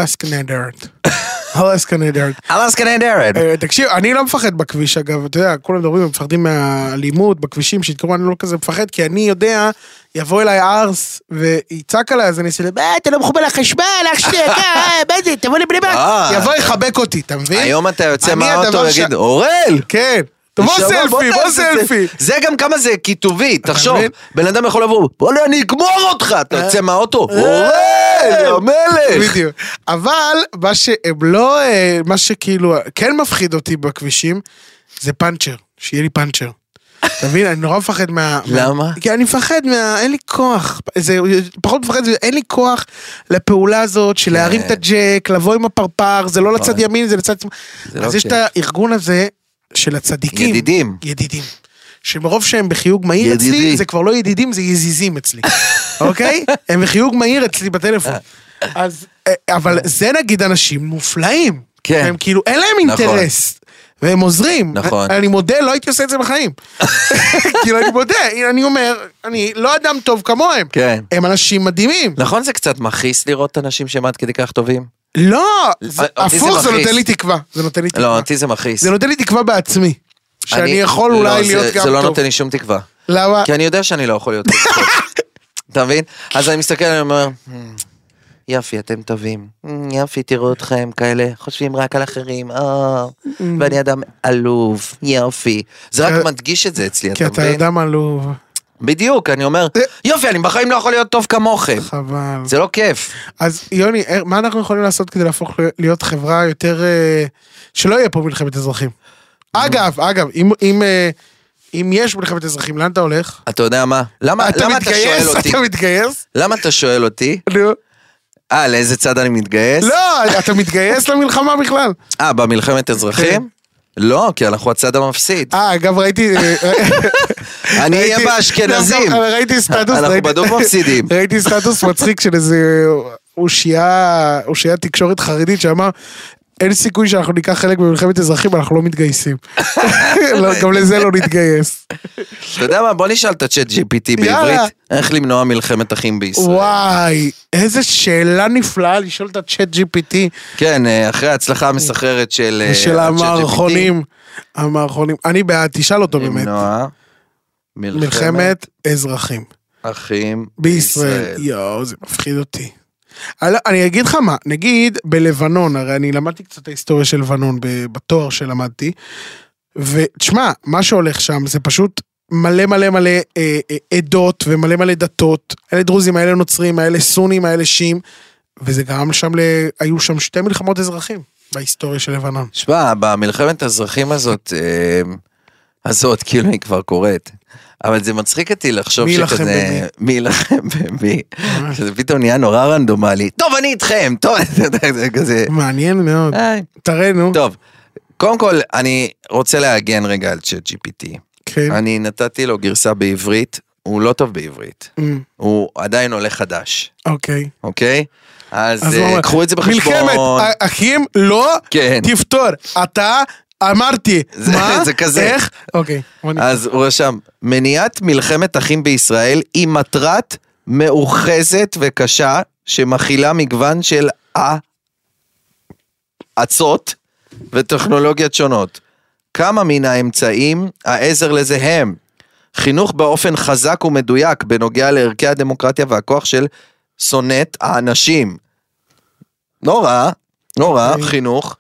S2: אלסקה נהדרת. אלסקה נהדרת.
S3: אלסקה נהדרת.
S2: אה, תקשיב, אני לא מפחד בכביש אגב, אתה יודע, כולם מדברים, הם מפחדים מהאלימות בכבישים, שיתקרבו, אני לא כזה מפחד, כי אני יודע, יבוא אליי ארס ויצעק עליי, אז אני אעשה לי, "מה, אתה לא מחובר לחשמל, אח שלי יקר, אה, מה זה, תבוא לבני ברק,
S3: אה.
S2: יבוא יחבק אותי, אתה מבין?
S3: היום אתה יוצא
S2: אני הדבר
S3: מהאוטו
S2: ש-
S3: ויגיד, אורל!
S2: כן, בוא
S3: נשמה,
S2: סלפי, בוא
S3: תעשה את זה."
S2: סלפי.
S3: זה גם כמה זה קיטובי, תחשוב.
S2: מבין?
S3: בן אדם יכול לבוא, בוא'נה, אני אגמור אותך! אתה יוצא מהאוטו, אורל!
S2: אה.
S3: יא מלך!
S2: בדיוק. אבל מה שהם לא, אה, מה שכאילו כן מפחיד אותי בכבישים, זה פאנצ'ר, שיהיה לי פאנצ'ר. אתה מבין? אני נורא מפחד מה...
S3: למה?
S2: כי אני מפחד מה... אין לי כוח. זה פחות מפחד, זה- אין לי כוח לפעולה הזאת
S3: כן.
S2: של להרים את הג'ק, לבוא עם הפרפר, זה לא לצד ימין, זה לצד... שמאל.
S3: נכון. זה לא
S2: אז יש את
S3: כיף.
S2: הארגון הזה של הצדיקים.
S3: ידידים.
S2: ידידים. שמרוב שהם בחיוג מהיר אצלי,
S3: ידידי.
S2: זה כבר לא ידידים, זה יזיזים אצלי, אוקיי? הם בחיוג מהיר אצלי בטלפון. אז, אה, אבל זה נגיד אנשים מופלאים.
S3: כן.
S2: הם כאילו, אין להם
S3: נכון.
S2: אינטרס. והם עוזרים.
S3: נכון.
S2: אני מודה, לא הייתי עושה את זה בחיים. כאילו, אני מודה, אני אומר, אני לא אדם טוב כמוהם.
S3: כן.
S2: הם אנשים מדהימים.
S3: נכון זה קצת מכעיס לראות אנשים שהם עד כדי כך טובים?
S2: לא, זה-
S3: אותי זה
S2: הפוך, זה
S3: מכעיס.
S2: נותן לי תקווה. זה נותן לי
S3: לא,
S2: תקווה.
S3: אותי זה מכעיס.
S2: זה נותן לי תקווה בעצמי. שאני
S3: אני-
S2: יכול
S3: לא,
S2: אולי
S3: זה-
S2: להיות גם
S3: זה לא
S2: טוב.
S3: נותן לי שום תקווה.
S2: למה?
S3: כי אני יודע שאני לא יכול להיות כזה טוב. אתה מבין? אז אני מסתכל, אני אומר, "Hmm, יפי, אתם טובים. Hmm, יפי, תראו אתכם כאלה, חושבים רק על אחרים, אה, ואני אדם עלוב, יופי. זה רק
S2: Hmm. כי-
S3: מדגיש את זה אצלי,
S2: כי
S3: אתה
S2: אתה
S3: מבין?
S2: אדם אה- עלוב,
S3: בדיוק, אני אומר,
S2: זה-
S3: יופי, אני בחיים לא יכול להיות טוב כמוכם.
S2: חבל.
S3: זה לא כיף.
S2: אז יוני, אה, מה אנחנו יכולים לעשות כדי להפוך ל- להיות חברה יותר... אה, שלא יהיה פה מלחמת אזרחים.
S3: לא.
S2: אגב, אגב, אם- אם... אה, אם יש מלחמת אזרחים, לאן אתה הולך?
S3: אתה יודע מה? למה
S2: אתה
S3: למה אתה שואל
S2: מתגייס?
S3: אותי?
S2: אתה מתגייס?
S3: למה אתה שואל אותי?
S2: נו.
S3: אה, לאיזה צד אני מתגייס?
S2: לא, אתה מתגייס למלחמה בכלל.
S3: אה, במלחמת
S2: כן.
S3: אזרחים? לא, כי אנחנו הצד המפסיד.
S2: אה, אגב, ראיתי... אה,
S3: אני אהיה
S2: ראיתי-
S3: באשכנזים.
S2: דווקא ראיתי סטטוס...
S3: אנחנו
S2: ראיתי-
S3: בדוק מפסידים.
S2: ראיתי סטטוס מצחיק של איזה אושייה, אושייה תקשורת חרדית שאמר, אין סיכוי שאנחנו ניקח חלק במלחמת אזרחים, אנחנו לא מתגייסים. לא, גם לזה לא נתגייס.
S3: אתה יודע מה, בוא נשאל את הצ'אט GPT
S2: יאללה.
S3: בעברית, איך למנוע מלחמת אחים בישראל.
S2: וואי, איזה שאלה נפלאה לשאול את הצ'אט GPT
S3: כן, אה, אחרי ההצלחה המסחררת של... אה,
S2: של
S3: הצ'אט
S2: המערכונים. המערכונים, אני בעד, תשאל אותו
S3: GPT,
S2: באמת.
S3: למנוע מלחמת
S2: מלחמת אזרחים.
S3: אחים
S2: בישראל. יואו, זה מפחיד אותי. אני לא- אני אגיד לך מה, נגיד בלבנון, הרי אני למדתי קצת את ההיסטוריה של לבנון ב- בתואר שלמדתי, ותשמע, מה שהולך שם זה פשוט מלא מלא מלא אה, אה, עדות ומלא מלא דתות, אלה דרוזים, האלה נוצרים, האלה סונים, האלה שיעים, וזה גרם שם, ל... היו שם שתי מלחמות אזרחים בהיסטוריה של לבנון.
S3: שמע, במלחמת האזרחים הזאת, אה, הזאת, כאילו היא כבר קורית. אבל זה מצחיק אותי לחשוב
S2: מי יילחם
S3: שכזה... מי יילחם במי? שזה פתאום נהיה נורא רנדומלי. טוב, אני איתכם! טוב, אתה יודע, זה כזה...
S2: מעניין מאוד.
S3: היי.
S2: תראה, נו.
S3: טוב, קודם כל, אני רוצה להגן רגע על צ'אט GPT.
S2: כן.
S3: אני נתתי לו גרסה בעברית, הוא לא טוב בעברית.
S2: אמ,
S3: הוא עדיין עולה חדש,
S2: אוקיי.
S3: אוקיי? אז
S2: אז
S3: אה,
S2: הוא אומר,
S3: קחו את זה
S2: מלחמת אה,
S3: בחשבון.
S2: א- אחים לא
S3: כן.
S2: תפתור. אתה אמרתי,
S3: זה-
S2: מה,
S3: זה כזה. אה.
S2: איך, אוקיי. בוא נ-
S3: אז הוא רשם, מניעת מלחמת אחים בישראל היא מטרת מאוחזת וקשה שמכילה מגוון של ה- עצות וטכנולוגיות שונות. כמה מן האמצעים העזר לזה הם חינוך באופן חזק ומדויק בנוגע לערכי הדמוקרטיה והכוח של שונאת האנשים. לא רע, לא רע,
S2: אוקיי.
S3: חינוך.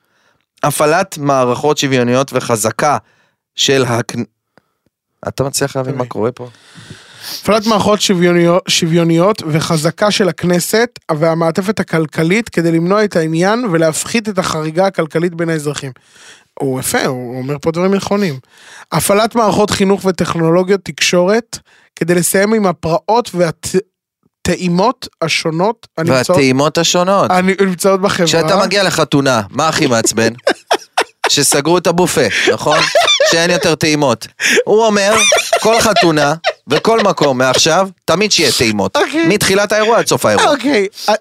S3: הפעלת מערכות שוויוניות וחזקה של הכ... אתה מצליח להבין מה
S2: אוקיי.
S3: קורה פה?
S2: הפעלת מערכות שוויוניות- שוויוניות וחזקה של הכנסת והמעטפת הכלכלית כדי למנוע את העניין ולהפחית את החריגה הכלכלית בין האזרחים. הוא יפה, הוא אומר פה דברים נכונים. הפעלת מערכות חינוך וטכנולוגיות תקשורת כדי לסיים עם הפרעות והטעימות השונות הנמצאות-
S3: והטעימות השונות.
S2: הנמצאות בחברה.
S3: כשאתה מגיע לחתונה, מה הכי מעצבן? שסגרו את הבופה, נכון? שאין יותר טעימות. הוא אומר, כל חתונה וכל מקום מעכשיו, תמיד שיהיה טעימות.
S2: אוקיי.
S3: מתחילת האירוע עד סוף האירוע.
S2: אוקיי, אה,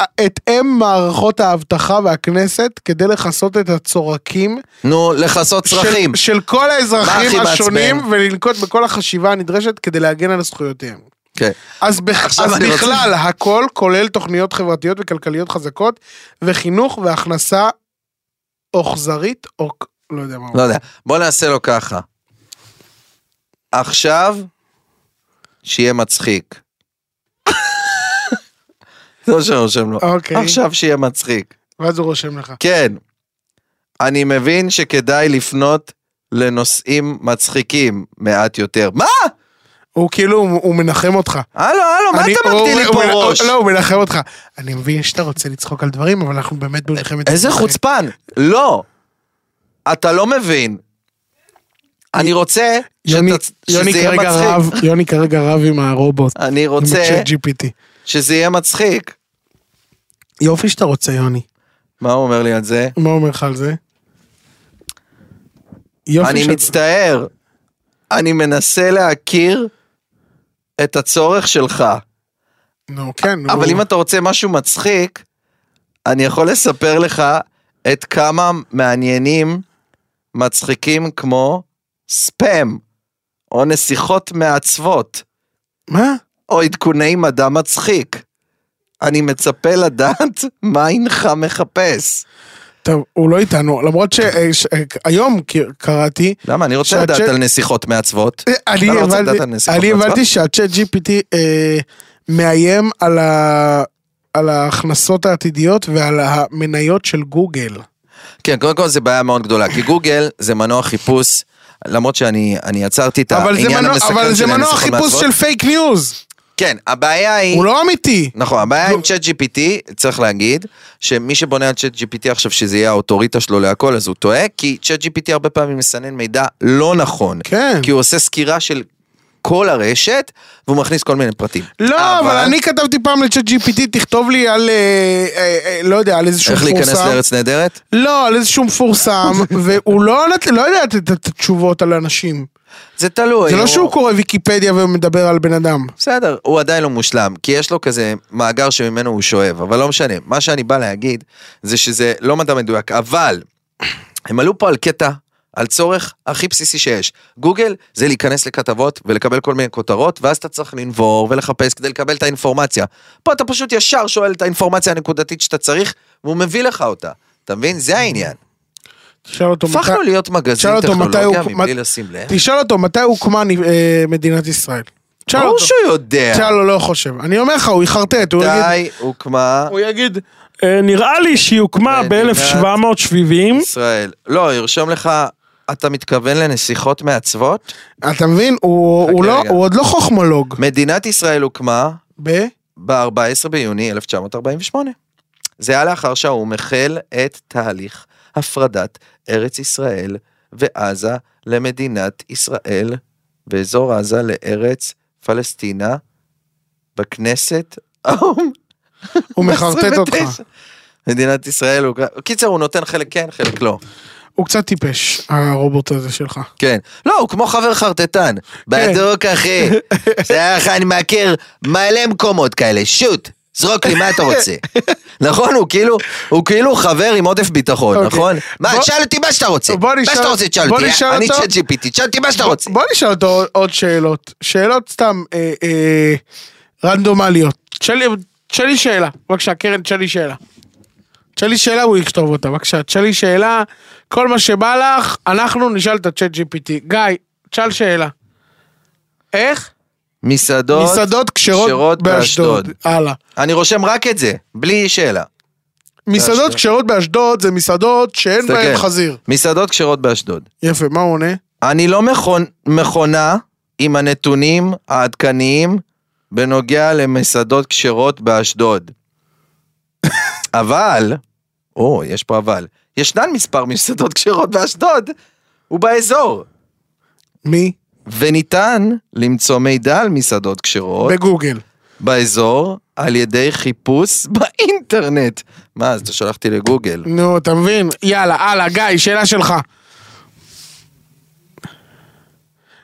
S2: אה, אתאם מערכות האבטחה והכנסת כדי לכסות את הצורקים
S3: נו, לכסות
S2: של-
S3: צרכים.
S2: של כל
S3: הכי
S2: האזרחים
S3: מעצבן?
S2: השונים ולנקוט בכל החשיבה הנדרשת כדי להגן על זכויותיהם.
S3: כן.
S2: אז בכ-
S3: עכשיו
S2: אז
S3: אני רוצה-
S2: בכלל הכל כולל תוכניות חברתיות וכלכליות חזקות וחינוך והכנסה אוכזרית או כ- לא יודע מה. הוא-
S3: לא יודע. בוא נעשה לו ככה. עכשיו, שיהיה מצחיק. זה מה שאני רושם לו.
S2: אוקיי.
S3: עכשיו שיהיה מצחיק.
S2: ואז הוא רושם לך.
S3: כן, אני מבין שכדאי לפנות לנושאים מצחיקים מעט יותר. מה?
S2: הוא כאילו הוא הוא מנחם אותך.
S3: הלו, הלו, מה
S2: אני-
S3: אתה
S2: הוא-
S3: מקטין לי
S2: הוא-
S3: פה
S2: הוא-
S3: ראש?
S2: לא, הוא מנחם אותך. אני מבין שאתה רוצה לצחוק על דברים, אבל אנחנו באמת במלחמת...
S3: איזה
S2: אזרחים.
S3: חוצפן. לא, אתה לא מבין. אני רוצה
S2: יוני,
S3: שת- שזה
S2: יוני
S3: יהיה
S2: כרגע
S3: מצחיק.
S2: רב, יוני כרגע רב עם הרובוט.
S3: אני
S2: עם
S3: רוצה
S2: צ'אט GPT.
S3: שזה יהיה מצחיק.
S2: יופי שאתה רוצה יוני.
S3: מה הוא אומר לי על זה?
S2: מה אומר לך על זה? יופי
S3: אני
S2: שאתה-
S3: מצטער, אני מנסה להכיר את הצורך שלך.
S2: נו כן. נו.
S3: אבל אם אתה רוצה משהו מצחיק, אני יכול לספר לך את כמה מעניינים, מצחיקים כמו ספאם, או נסיכות מעצבות,
S2: מה?
S3: או עדכוני מדע מצחיק. אני מצפה לדעת מה אינך מחפש.
S2: טוב, הוא לא איתנו, למרות אה, שהיום קראתי,
S3: למה? אני רוצה
S2: שהצ'אט-
S3: לדעת על נסיכות מעצבות.
S2: אני
S3: אתה לא רוצה לדעת על
S2: הבנתי,
S3: נסיכות
S2: אני
S3: מעצבות?
S2: הבנתי שהצ'אט GPT אה, מאיים על ה... על ההכנסות העתידיות ועל המניות של גוגל.
S3: כן, קודם כל זה בעיה מאוד גדולה, כי גוגל זה מנוע חיפוש, למרות שאני אני עצרתי את
S2: אבל זה
S3: העניין
S2: מנוע- אבל
S3: המסכן
S2: זה
S3: של
S2: מנוע
S3: הנסיכות
S2: חיפוש
S3: מעצבות.
S2: של פייק ניוז,
S3: כן, הבעיה היא...
S2: הוא לא אמיתי.
S3: נכון, הבעיה
S2: נו.
S3: עם צ'אט GPT, צריך להגיד, שמי שבונה על צ'אט GPT עכשיו שזה יהיה האוטוריטה שלו להכל, אז הוא טועה, כי צ'אט GPT הרבה פעמים מסנן מידע לא נכון.
S2: כן.
S3: כי הוא עושה סקירה של כל הרשת, והוא מכניס כל מיני פרטים.
S2: לא, אבל אני כתבתי פעם לצ'אט GPT, תכתוב לי על, אה, אה, אה, לא יודע, על איזשהו
S3: איך
S2: מפורסם.
S3: להיכנס לארץ נהדרת?
S2: לא, על איזשהו מפורסם, והוא לא יודעת- לא יודעת את את התשובות על אנשים.
S3: זה תלוי.
S2: זה לא
S3: הוא-
S2: שהוא קורא ויקיפדיה ומדבר על בן אדם.
S3: בסדר, הוא עדיין לא מושלם, כי יש לו כזה מאגר שממנו הוא שואב, אבל לא משנה. מה שאני בא להגיד, זה שזה לא מדע מדויק, אבל הם עלו פה על קטע, על צורך הכי בסיסי שיש. גוגל זה להיכנס לכתבות ולקבל כל מיני כותרות, ואז אתה צריך לנבור ולחפש כדי לקבל את האינפורמציה. פה אתה פשוט ישר שואל את האינפורמציה הנקודתית שאתה צריך, והוא מביא לך אותה. אתה מבין? זה העניין.
S2: תשאל אותו מתי...
S3: הפכנו להיות מגזין
S2: תשאל אותו מתי
S3: טכנולוגיה
S2: הוא-
S3: מבלי
S2: מת-
S3: לשים לב.
S2: תשאל אותו מתי הוקמה נ- אה, מדינת ישראל. תשאל
S3: ברור
S2: אותו.
S3: שהוא יודע.
S2: תשאל לו, לא חושב. אני אומר לך, הוא יחרטט, הוא יגיד...
S3: די, הוקמה.
S2: הוא יגיד...
S4: אה, נראה לי שהיא הוקמה
S3: מדינת-
S2: Hmm?
S4: ב-1770.
S3: ישראל. לא, ירשום לך, אתה מתכוון לנסיכות מעצבות?
S2: אתה מבין? הוא הוא
S3: חכה
S2: לא-
S3: רגע.
S2: הוא עוד לא חוכמולוג.
S3: מדינת ישראל הוקמה
S2: ב...
S3: ב-14 ביוני 1948. זה היה לאחר שהאו"ם החל את תהליך הפרדת ארץ ישראל ועזה למדינת ישראל ואזור עזה לארץ פלסטינה בכנסת האו"ם.
S2: הוא מחרטט אותך.
S3: 29. מדינת ישראל, הוא... קיצר הוא נותן חלק כן, חלק לא.
S2: הוא קצת טיפש, הרובוט הזה שלך.
S3: כן. לא, הוא כמו חבר חרטטן.
S2: כן.
S3: בדוק, אחי. זה איך אני מכיר מלא מקומות כאלה. שוט, זרוק לי, מה אתה רוצה? נכון, הוא כאילו, הוא כאילו חבר עם עודף ביטחון,
S2: אוקיי.
S3: נכון? מה,
S2: בוא-
S3: תשאל אותי מה שאתה רוצה.
S2: בוא
S3: מה
S2: נשאל-
S3: שאתה רוצה, תשאל
S2: בוא
S3: אותי.
S2: נשאל
S3: אני
S2: אותו-
S3: צ'אט GPT, תשאל אותי מה שאתה
S2: בוא-
S3: רוצה.
S2: בוא נשאל אותו עוד שאלות. שאלות סתם אה, אה, רנדומליות. תשאל לי- תשאל לי שאלה. בבקשה, קרן, תשאל לי שאלה. תשאל לי שאלה, הוא יכתוב אותה. בבקשה, תשאל לי שאלה. כל מה שבא לך, אנחנו נשאל את הצ'אט GPT. גיא, תשאל שאלה. איך?
S3: מסעדות.
S2: מסעדות כשרות באשדוד. הלאה.
S3: אני רושם רק את זה, בלי שאלה.
S2: מסעדות
S3: באשדוד.
S2: כשרות באשדוד זה מסעדות שאין
S3: תסתכל.
S2: בהן חזיר.
S3: מסעדות כשרות באשדוד.
S2: יפה, מה הוא עונה?
S3: אני לא מכון, מכונה עם הנתונים העדכניים בנוגע למסעדות כשרות באשדוד. אבל, או, יש פה אבל, ישנן מספר מסעדות כשרות באשדוד ובאזור,
S2: מי?
S3: וניתן למצוא מידע על מסעדות כשרות
S2: בגוגל.
S3: באזור על ידי חיפוש באינטרנט. מה, אז אתה שלחתי לגוגל.
S2: נו, אתה מבין? יאללה, הלאה, גיא, שאלה שלך.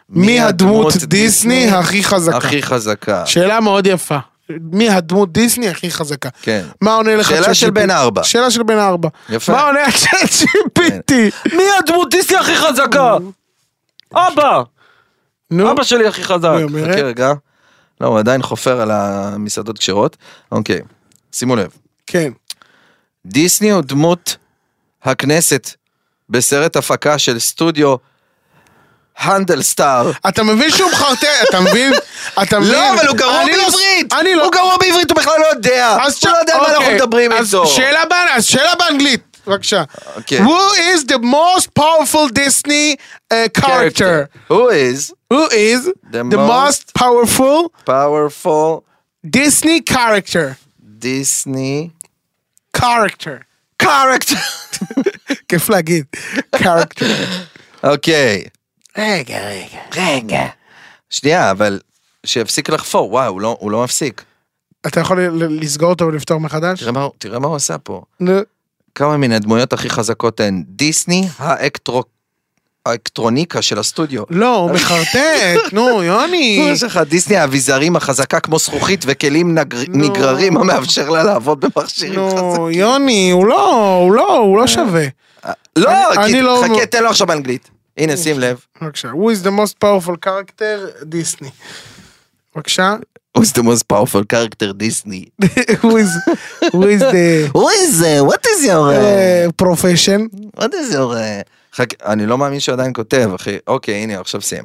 S2: מי הדמות דיסני הכי חזקה?
S3: הכי חזקה?
S2: שאלה מאוד יפה. מי הדמות דיסני הכי חזקה?
S3: כן.
S2: מה עונה לך?
S3: שאלה
S2: צ'אט
S3: של
S2: GPT?
S3: בן ארבע.
S2: שאלה של בן ארבע.
S3: יפה. כן.
S2: מה עונה הצ'אט GPT?
S4: מי הדמות דיסני הכי חזקה?
S3: אוקיי.
S4: אבא!
S2: נו,
S4: אבא שלי הכי חזק.
S2: היא אומרת.
S3: חכה רגע. לא, הוא עדיין חופר על המסעדות כשרות. אוקיי, שימו לב.
S2: כן.
S3: דיסני הוא דמות הכנסת בסרט הפקה של סטודיו הנדלסטאר.
S2: אתה מבין שהוא מחרטט, אתה מבין? אתה מבין?
S3: לא, אבל הוא גרוע
S2: אני לא-
S3: בעברית!
S2: אני לא...
S3: הוא גרוע בעברית, הוא בכלל לא יודע!
S2: אז
S3: הוא
S2: ש-
S3: לא יודע על מה אנחנו
S2: אוקיי,
S3: מדברים
S2: אז
S3: איתו.
S2: שאלה באנ- אז שאלה באנגלית, בבקשה.
S3: אוקיי.
S2: Who is the most powerful Disney uh, character?
S3: Who is
S2: Who is
S3: The
S2: the most
S3: most
S2: powerful
S3: powerful
S2: Disney character?
S3: Disney
S2: character.
S3: character?
S2: כיף להגיד, character.
S3: אוקיי.
S2: רגע, רגע.
S3: רגע. שנייה, אבל שיפסיק לחפור, וואי, הוא לא- הוא לא מפסיק.
S2: אתה יכול ל- לסגור אותו ולפתור מחדש?
S3: תראה מה הוא- תראה מה הוא עשה פה.
S2: נו,
S3: כמה מן הדמויות הכי חזקות הן דיסני, האקטרו... האקטרוניקה של הסטודיו.
S2: לא, הוא מחרטט, נו, יוני.
S3: יש לך דיסני האביזרים החזקה כמו זכוכית וכלים נגר...
S2: נו.
S3: נגררים המאפשר לה לעבוד במכשירים
S2: נו,
S3: חזקים.
S2: יוני, הוא לא, הוא לא, הוא לא שווה.
S3: לא,
S2: אני-
S3: כי-
S2: אני לא-
S3: חכה, תן לו עכשיו באנגלית. הנה, שים לב.
S2: בבקשה, who is the most powerful character? דיסני. בבקשה.
S3: Who's the most powerful character דיסני?
S2: who is, who is the
S3: Who is זה? What is your... uh,
S2: uh, profession?
S3: What is your... uh, חכה, אני לא מאמין שהוא עדיין כותב, אחי. אוקיי, הנה, עכשיו שים.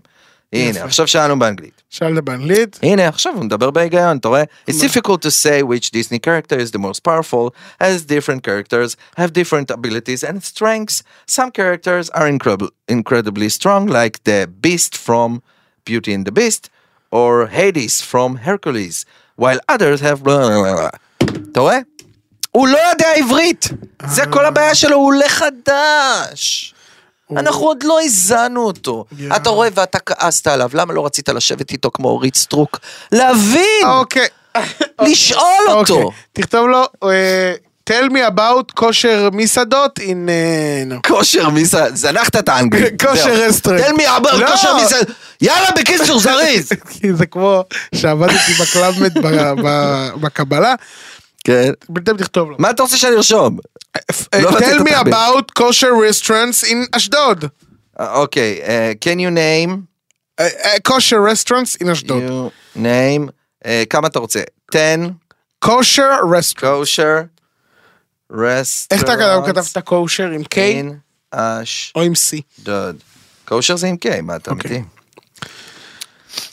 S3: הנה, עכשיו שאלנו באנגלית.
S2: שאלת באנגלית.
S3: הנה עכשיו הוא מדבר בהיגיון, אתה רואה? It's difficult to say which Disney character is the most powerful, as different characters have different abilities and strengths. Some characters are incredible, incredibly strong, like the Beast from Beauty and the Beast, or Hades from Hercules, while others have... blah, blah, blah, blah. אתה רואה? הוא לא יודע עברית! זה כל הבעיה שלו, הוא עולה חדש! אנחנו עוד לא הזענו אותו.
S2: יואו.
S3: אתה רואה ואתה כעסת עליו, למה לא רצית לשבת איתו כמו אורית סטרוק? להבין!
S2: אוקיי.
S3: לשאול אותו!
S2: אוקיי. תכתוב לו, אה, tell me about כושר מסעדות in... אה, no.
S3: כושר מסעד, זנחת את האנגלית.
S2: כושר
S3: זהו.
S2: רסטורנט.
S3: תן מי אמר
S2: לא.
S3: כושר מסעד. יאללה, בקיצור, זריז.
S2: כי זה כמו שעבדתי בקלאבמט ב- ב- בקבלה,
S3: כן.
S2: בינתיים תכתוב לו.
S3: מה אתה רוצה שאני ארשום?
S2: אה,
S3: לא רצית
S2: tell me
S3: תחביר.
S2: about כושר restaurants in אשדוד.
S3: אה, אוקיי, אה, can you name?
S2: אה, אה, כושר restaurants in אשדוד.
S3: you name. אה, כמה אתה רוצה? 10,
S2: כושר restaurants.
S3: kosher, restaurant.
S2: איך אתה גם כתבת כושר עם K
S3: in אשדוד.
S2: או עם C?
S3: kosher זה עם K, מה אתה מבין?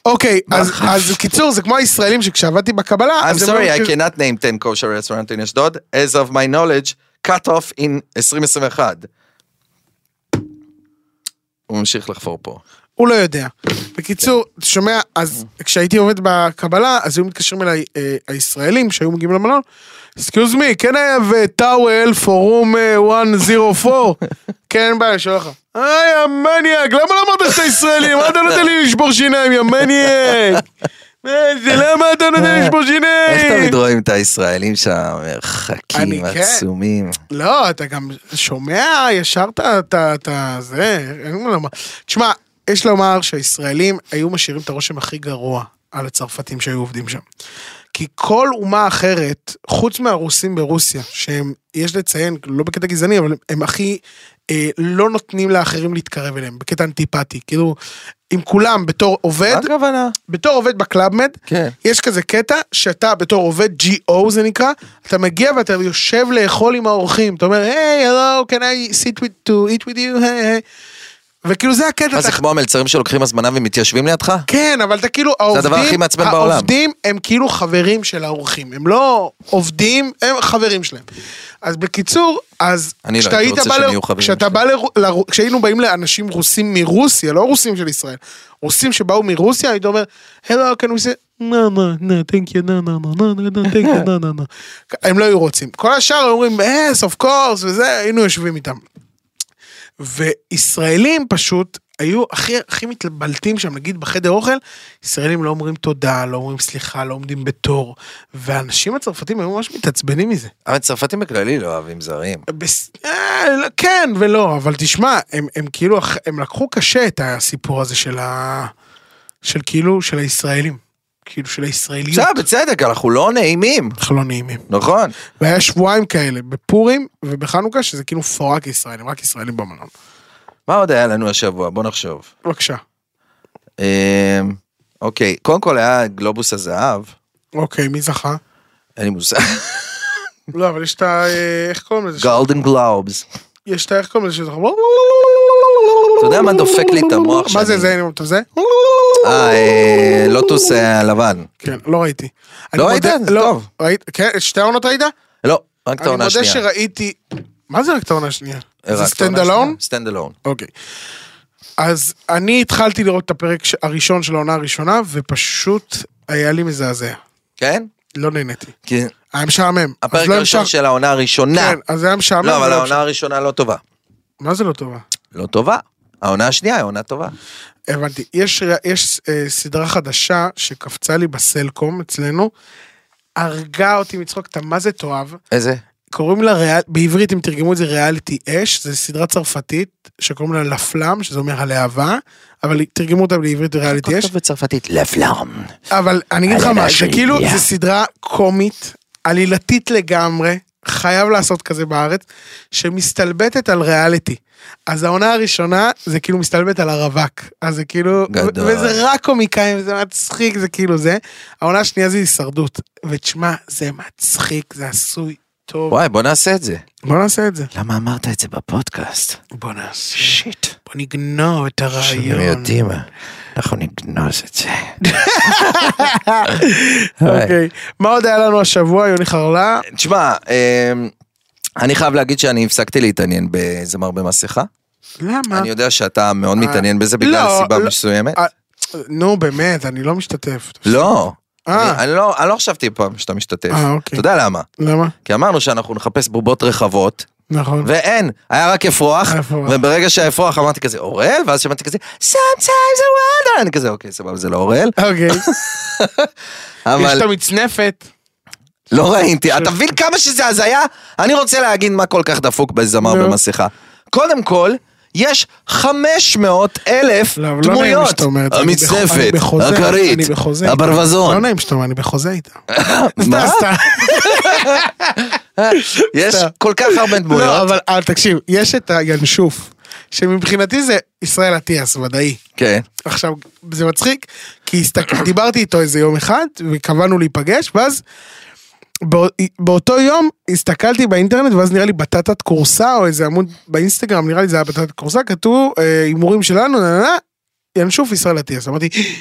S2: אוקיי, אז- אז קיצור, זה כמו הישראלים שכשעבדתי בקבלה,
S3: I'm
S2: אז הם לא
S3: sorry, I
S2: מכירים-
S3: cannot name 10 kosher restaurant in אשדוד, as of my knowledge, cut off in 2021. הוא ממשיך לחפור פה.
S2: הוא לא יודע. בקיצור, אתה שומע, אז כשהייתי עובד בקבלה, אז היו מתקשרים אליי אה, הישראלים שהיו מגיעים למלון, סקיוז מי, כן היה וטאוול for room אה, 104? כן, אין בעיה, שואל לך. היי, יא מניאק, למה לא אמרת שאתה ישראלי? מה אתה נותן לי לשבור שיניים, יא מניאק? מה זה, למה אתה נותן לי לשבור
S3: איך
S2: שיניים?
S3: תמיד רואים את הישראלים שם, מרחקים
S2: אני כן.
S3: עצומים.
S2: לא, אתה גם שומע ישר את ה- את ה- את ה... זה, אין מה לומר. תשמע, יש לומר שהישראלים היו משאירים את הרושם הכי גרוע על הצרפתים שהיו עובדים שם. כי כל אומה אחרת, חוץ מהרוסים ברוסיה, שהם, יש לציין, לא בקטע גזעני, אבל הם הכי אה, לא נותנים לאחרים להתקרב אליהם, בקטע אנטיפטי. כאילו, עם כולם, בתור עובד,
S3: מה הכוונה?
S2: בתור עובד בקלאבמד,
S3: כן.
S2: יש כזה קטע שאתה בתור עובד GO זה נקרא, אתה מגיע ואתה יושב לאכול עם האורחים, אתה אומר, היי, hello, can I sit with, to eat with you, היי, היי. וכאילו זה הקטע,
S3: מה
S2: אתה-
S3: זה כמו המלצרים שלוקחים הזמנה ומתיישבים לידך?
S2: כן, אבל אתה כאילו, העובדים,
S3: הדבר הכי מעצבן בעולם.
S2: העובדים הם כאילו חברים של האורחים, הם לא עובדים, הם חברים שלהם. אז בקיצור, אז
S3: אני לא
S2: כשאתה
S3: הייתי
S2: היית
S3: רוצה
S2: בא
S3: שהם
S2: ל-
S3: יהיו חברים
S2: כשאתה
S3: שלי.
S2: בא ל- ל... כשהיינו באים לאנשים רוסים מרוסיה, לא רוסים של ישראל, רוסים שבאו מרוסיה, היית אומר, הלו, כאן הוא נו, נו, נו, thank you, נו, נו, נו, נו, נו, נו, thank you, נו, נו, נו. הם לא היו רוצים. כל השאר היו אומרים, yes, of course, וזה, היינו יושבים איתם. וישראלים פשוט היו הכי הכי מתבלטים שם, נגיד בחדר אוכל, ישראלים לא אומרים תודה, לא אומרים סליחה, לא עומדים בתור, והאנשים הצרפתים היו ממש מתעצבנים מזה.
S3: אבל צרפתים בכללי לא אוהבים זרים.
S2: בס... אה, לא- כן ולא, אבל תשמע, הם, הם כאילו, אח- הם לקחו קשה את הסיפור הזה של ה... של כאילו, של הישראלים. כאילו, של הישראליות.
S3: בסדר, בצדק, אנחנו לא נעימים.
S2: אנחנו לא נעימים.
S3: נכון.
S2: והיה שבועיים כאלה, בפורים ובחנוכה, שזה כאילו פורק ישראלים, רק ישראלים במלון.
S3: מה עוד היה לנו השבוע? בוא נחשוב.
S2: בבקשה.
S3: אה, אוקיי, קודם כל היה גלובוס הזהב.
S2: אוקיי, מי זכה?
S3: אין לי מושג.
S2: לא, אבל יש את ה... אה, איך קוראים לזה?
S3: גולדן גלובס.
S2: יש את ה... איך קוראים לזה? שאתה אומר,
S3: אתה יודע מה דופק לי את המוח
S2: מה זה
S3: שאני-
S2: זה? אני- אתה זה?
S3: אה, אה, לוטוס אה, הלבן.
S2: כן, לא ראיתי. אני
S3: לא
S2: מודה-
S3: היית? זה
S2: לא.
S3: טוב.
S2: ראית? כן, שתי העונות ראית?
S3: לא, רק את
S2: אני
S3: העונה
S2: מודה
S3: השנייה. אה,
S2: שראיתי... מה זה רק את העונה השנייה?
S3: רק את
S2: זה
S3: העונה
S2: סטנד
S3: השנייה.
S2: אלון?
S3: סטנד אלון.
S2: אוקיי. אז אני התחלתי לראות את הפרק ש- הראשון של העונה הראשונה, ופשוט היה לי מזעזע.
S3: כן?
S2: לא נהניתי.
S3: כי
S2: היה משעמם. אז
S3: הפרק
S2: לא
S3: הראשון
S2: המשך-
S3: של העונה הראשונה.
S2: כן, אז היה משעמם.
S3: לא, אבל
S2: ולא
S3: העונה הראשונה לא טובה.
S2: המשך- מה זה לא טובה?
S3: לא טובה. העונה השנייה היא עונה טובה.
S2: הבנתי. יש, יש אה, סדרה חדשה שקפצה לי בסלקום אצלנו, הרגה אותי מצחוק, אתה מה זה תאהב.
S3: איזה?
S2: קוראים לה, ריאל, בעברית אם תרגמו את זה ריאליטי אש, זו סדרה צרפתית שקוראים לה לפלאם, שזה אומר הלהבה, אבל תרגמו אותה בעברית ריאליטי אש.
S3: כתוב בצרפתית לפלאם.
S2: אבל אני אגיד לך
S3: הלהבה
S2: מה, זה
S3: שלי,
S2: כאילו,
S3: יא.
S2: זו סדרה קומית, עלילתית לגמרי, חייב לעשות כזה בארץ, שמסתלבטת על ריאליטי. אז העונה הראשונה, זה כאילו מסתלבט על הרווק. אז זה כאילו, ו-
S3: גדול.
S2: וזה רק קומיקאים, זה מצחיק, זה כאילו זה. העונה השנייה זה הישרדות. ותשמע, זה מצחיק, זה עשוי טוב.
S3: וואי, בוא נעשה את זה.
S2: בוא נעשה את זה.
S3: למה אמרת את זה בפודקאסט?
S2: בוא נעשה.
S3: שיט.
S2: בוא נגנוב את
S3: אנחנו
S2: הרעיון.
S3: יודעים, אנחנו נגנוז את זה.
S2: אוקיי. מה עוד היה לנו השבוע, יוני חרלה?
S3: תשמע, אמ, אני חייב להגיד שאני הפסקתי להתעניין בזמר במסכה.
S2: למה?
S3: אני יודע שאתה מאוד מתעניין בזה
S2: לא,
S3: בגלל סיבה
S2: לא.
S3: מסוימת.
S2: אה, נו באמת, אני לא משתתף.
S3: לא.
S2: אה.
S3: אני- אני לא אני לא חשבתי פעם שאתה משתתף.
S2: אה, אוקיי.
S3: אתה יודע למה?
S2: למה?
S3: כי אמרנו שאנחנו נחפש בובות רחבות,
S2: נכון.
S3: ואין, היה רק אפרוח,
S2: אפרוח.
S3: וברגע שהאפרוח אמרתי כזה אורל, ואז שמעתי כזה, sometimes a wonder, אני כזה, אוקיי, סבבה, זה לא אורל,
S2: אוקיי. יש
S3: אבל
S2: את המצנפת.
S3: לא ראיתי, אתה מבין כמה שזה הזיה? אני רוצה להגיד מה כל כך דפוק בזמר
S2: נו.
S3: במסכה. קודם כל, יש 500 אלף
S2: לא, אבל לא נעים לי
S3: דמויות.
S2: שאתה אומר את זה. אני בח-
S3: המצנפת,
S2: אני בחוזה-
S3: הכרית,
S2: אני בחוזה איתה. לא
S3: הברווזון.
S2: נעים שאתה אומר, אני בחוזה איתה.
S3: מה?
S2: סתם, סתם.
S3: יש
S2: סתם.
S3: כל כך הרבה
S2: לא,
S3: דמויות.
S2: אבל אבל תקשיב, יש את הינשוף, שמבחינתי זה ישראל אטיאס, ודאי.
S3: כן.
S2: עכשיו, זה מצחיק, כי הסתכל, דיברתי איתו איזה יום אחד, וקבענו להיפגש, ואז בא, באותו יום הסתכלתי באינטרנט, ואז נראה לי בטטת קורסה, או איזה עמוד באינסטגרם, נראה לי זה היה בטטת קורסה, כתוב אה, הימורים שלנו, נה נה נה, ינשוף ישראל אטיאס. אמרתי,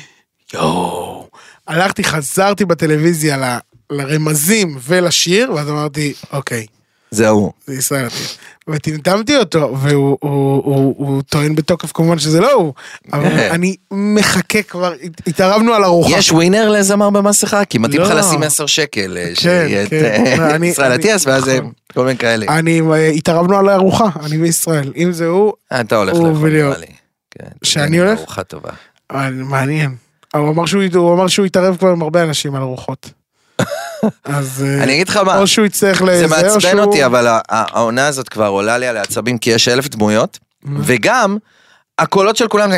S2: יואו. הלכתי, חזרתי בטלוויזיה ל, לרמזים ולשיר, ואז אמרתי, אוקיי.
S3: זה ההוא.
S2: זה ישראל עתיד. וטמטמתי אותו, והוא הוא, הוא, הוא טוען בתוקף כמובן שזה לא הוא, אבל אני מחכה כבר, הת- התערבנו על ארוחה.
S3: אה. יש ווינר לזמר במסכה? כי מתאים לך
S2: לא.
S3: לשים 10 שקל, אה,
S2: כן,
S3: שיהיה את
S2: כן.
S3: אה,
S2: אני-
S3: ישראל
S2: אני-
S3: אטיאס, ואז אה,
S2: נכון.
S3: כל מיני כאלה.
S2: אני, אה, התערבנו על הארוחה, אני וישראל. אם זה הוא,
S3: אה, אתה הולך
S2: הוא
S3: לאכול,
S2: וליאור.
S3: נראה לי. כן,
S2: שאני
S3: תגיד,
S2: הולך?
S3: ארוחה טובה.
S2: אבל אה, מעניין. הוא אמר, שהוא, הוא אמר שהוא התערב כבר עם הרבה אנשים על ארוחות. אז אה,
S3: אני אגיד לך מה,
S2: או שהוא יצטרך
S3: זה
S2: לזה, או
S3: מעצבן
S2: שהוא-
S3: אותי, אבל ה- ה- העונה הזאת כבר עולה לי על העצבים, כי יש אלף דמויות, וגם, הקולות של כולם זה...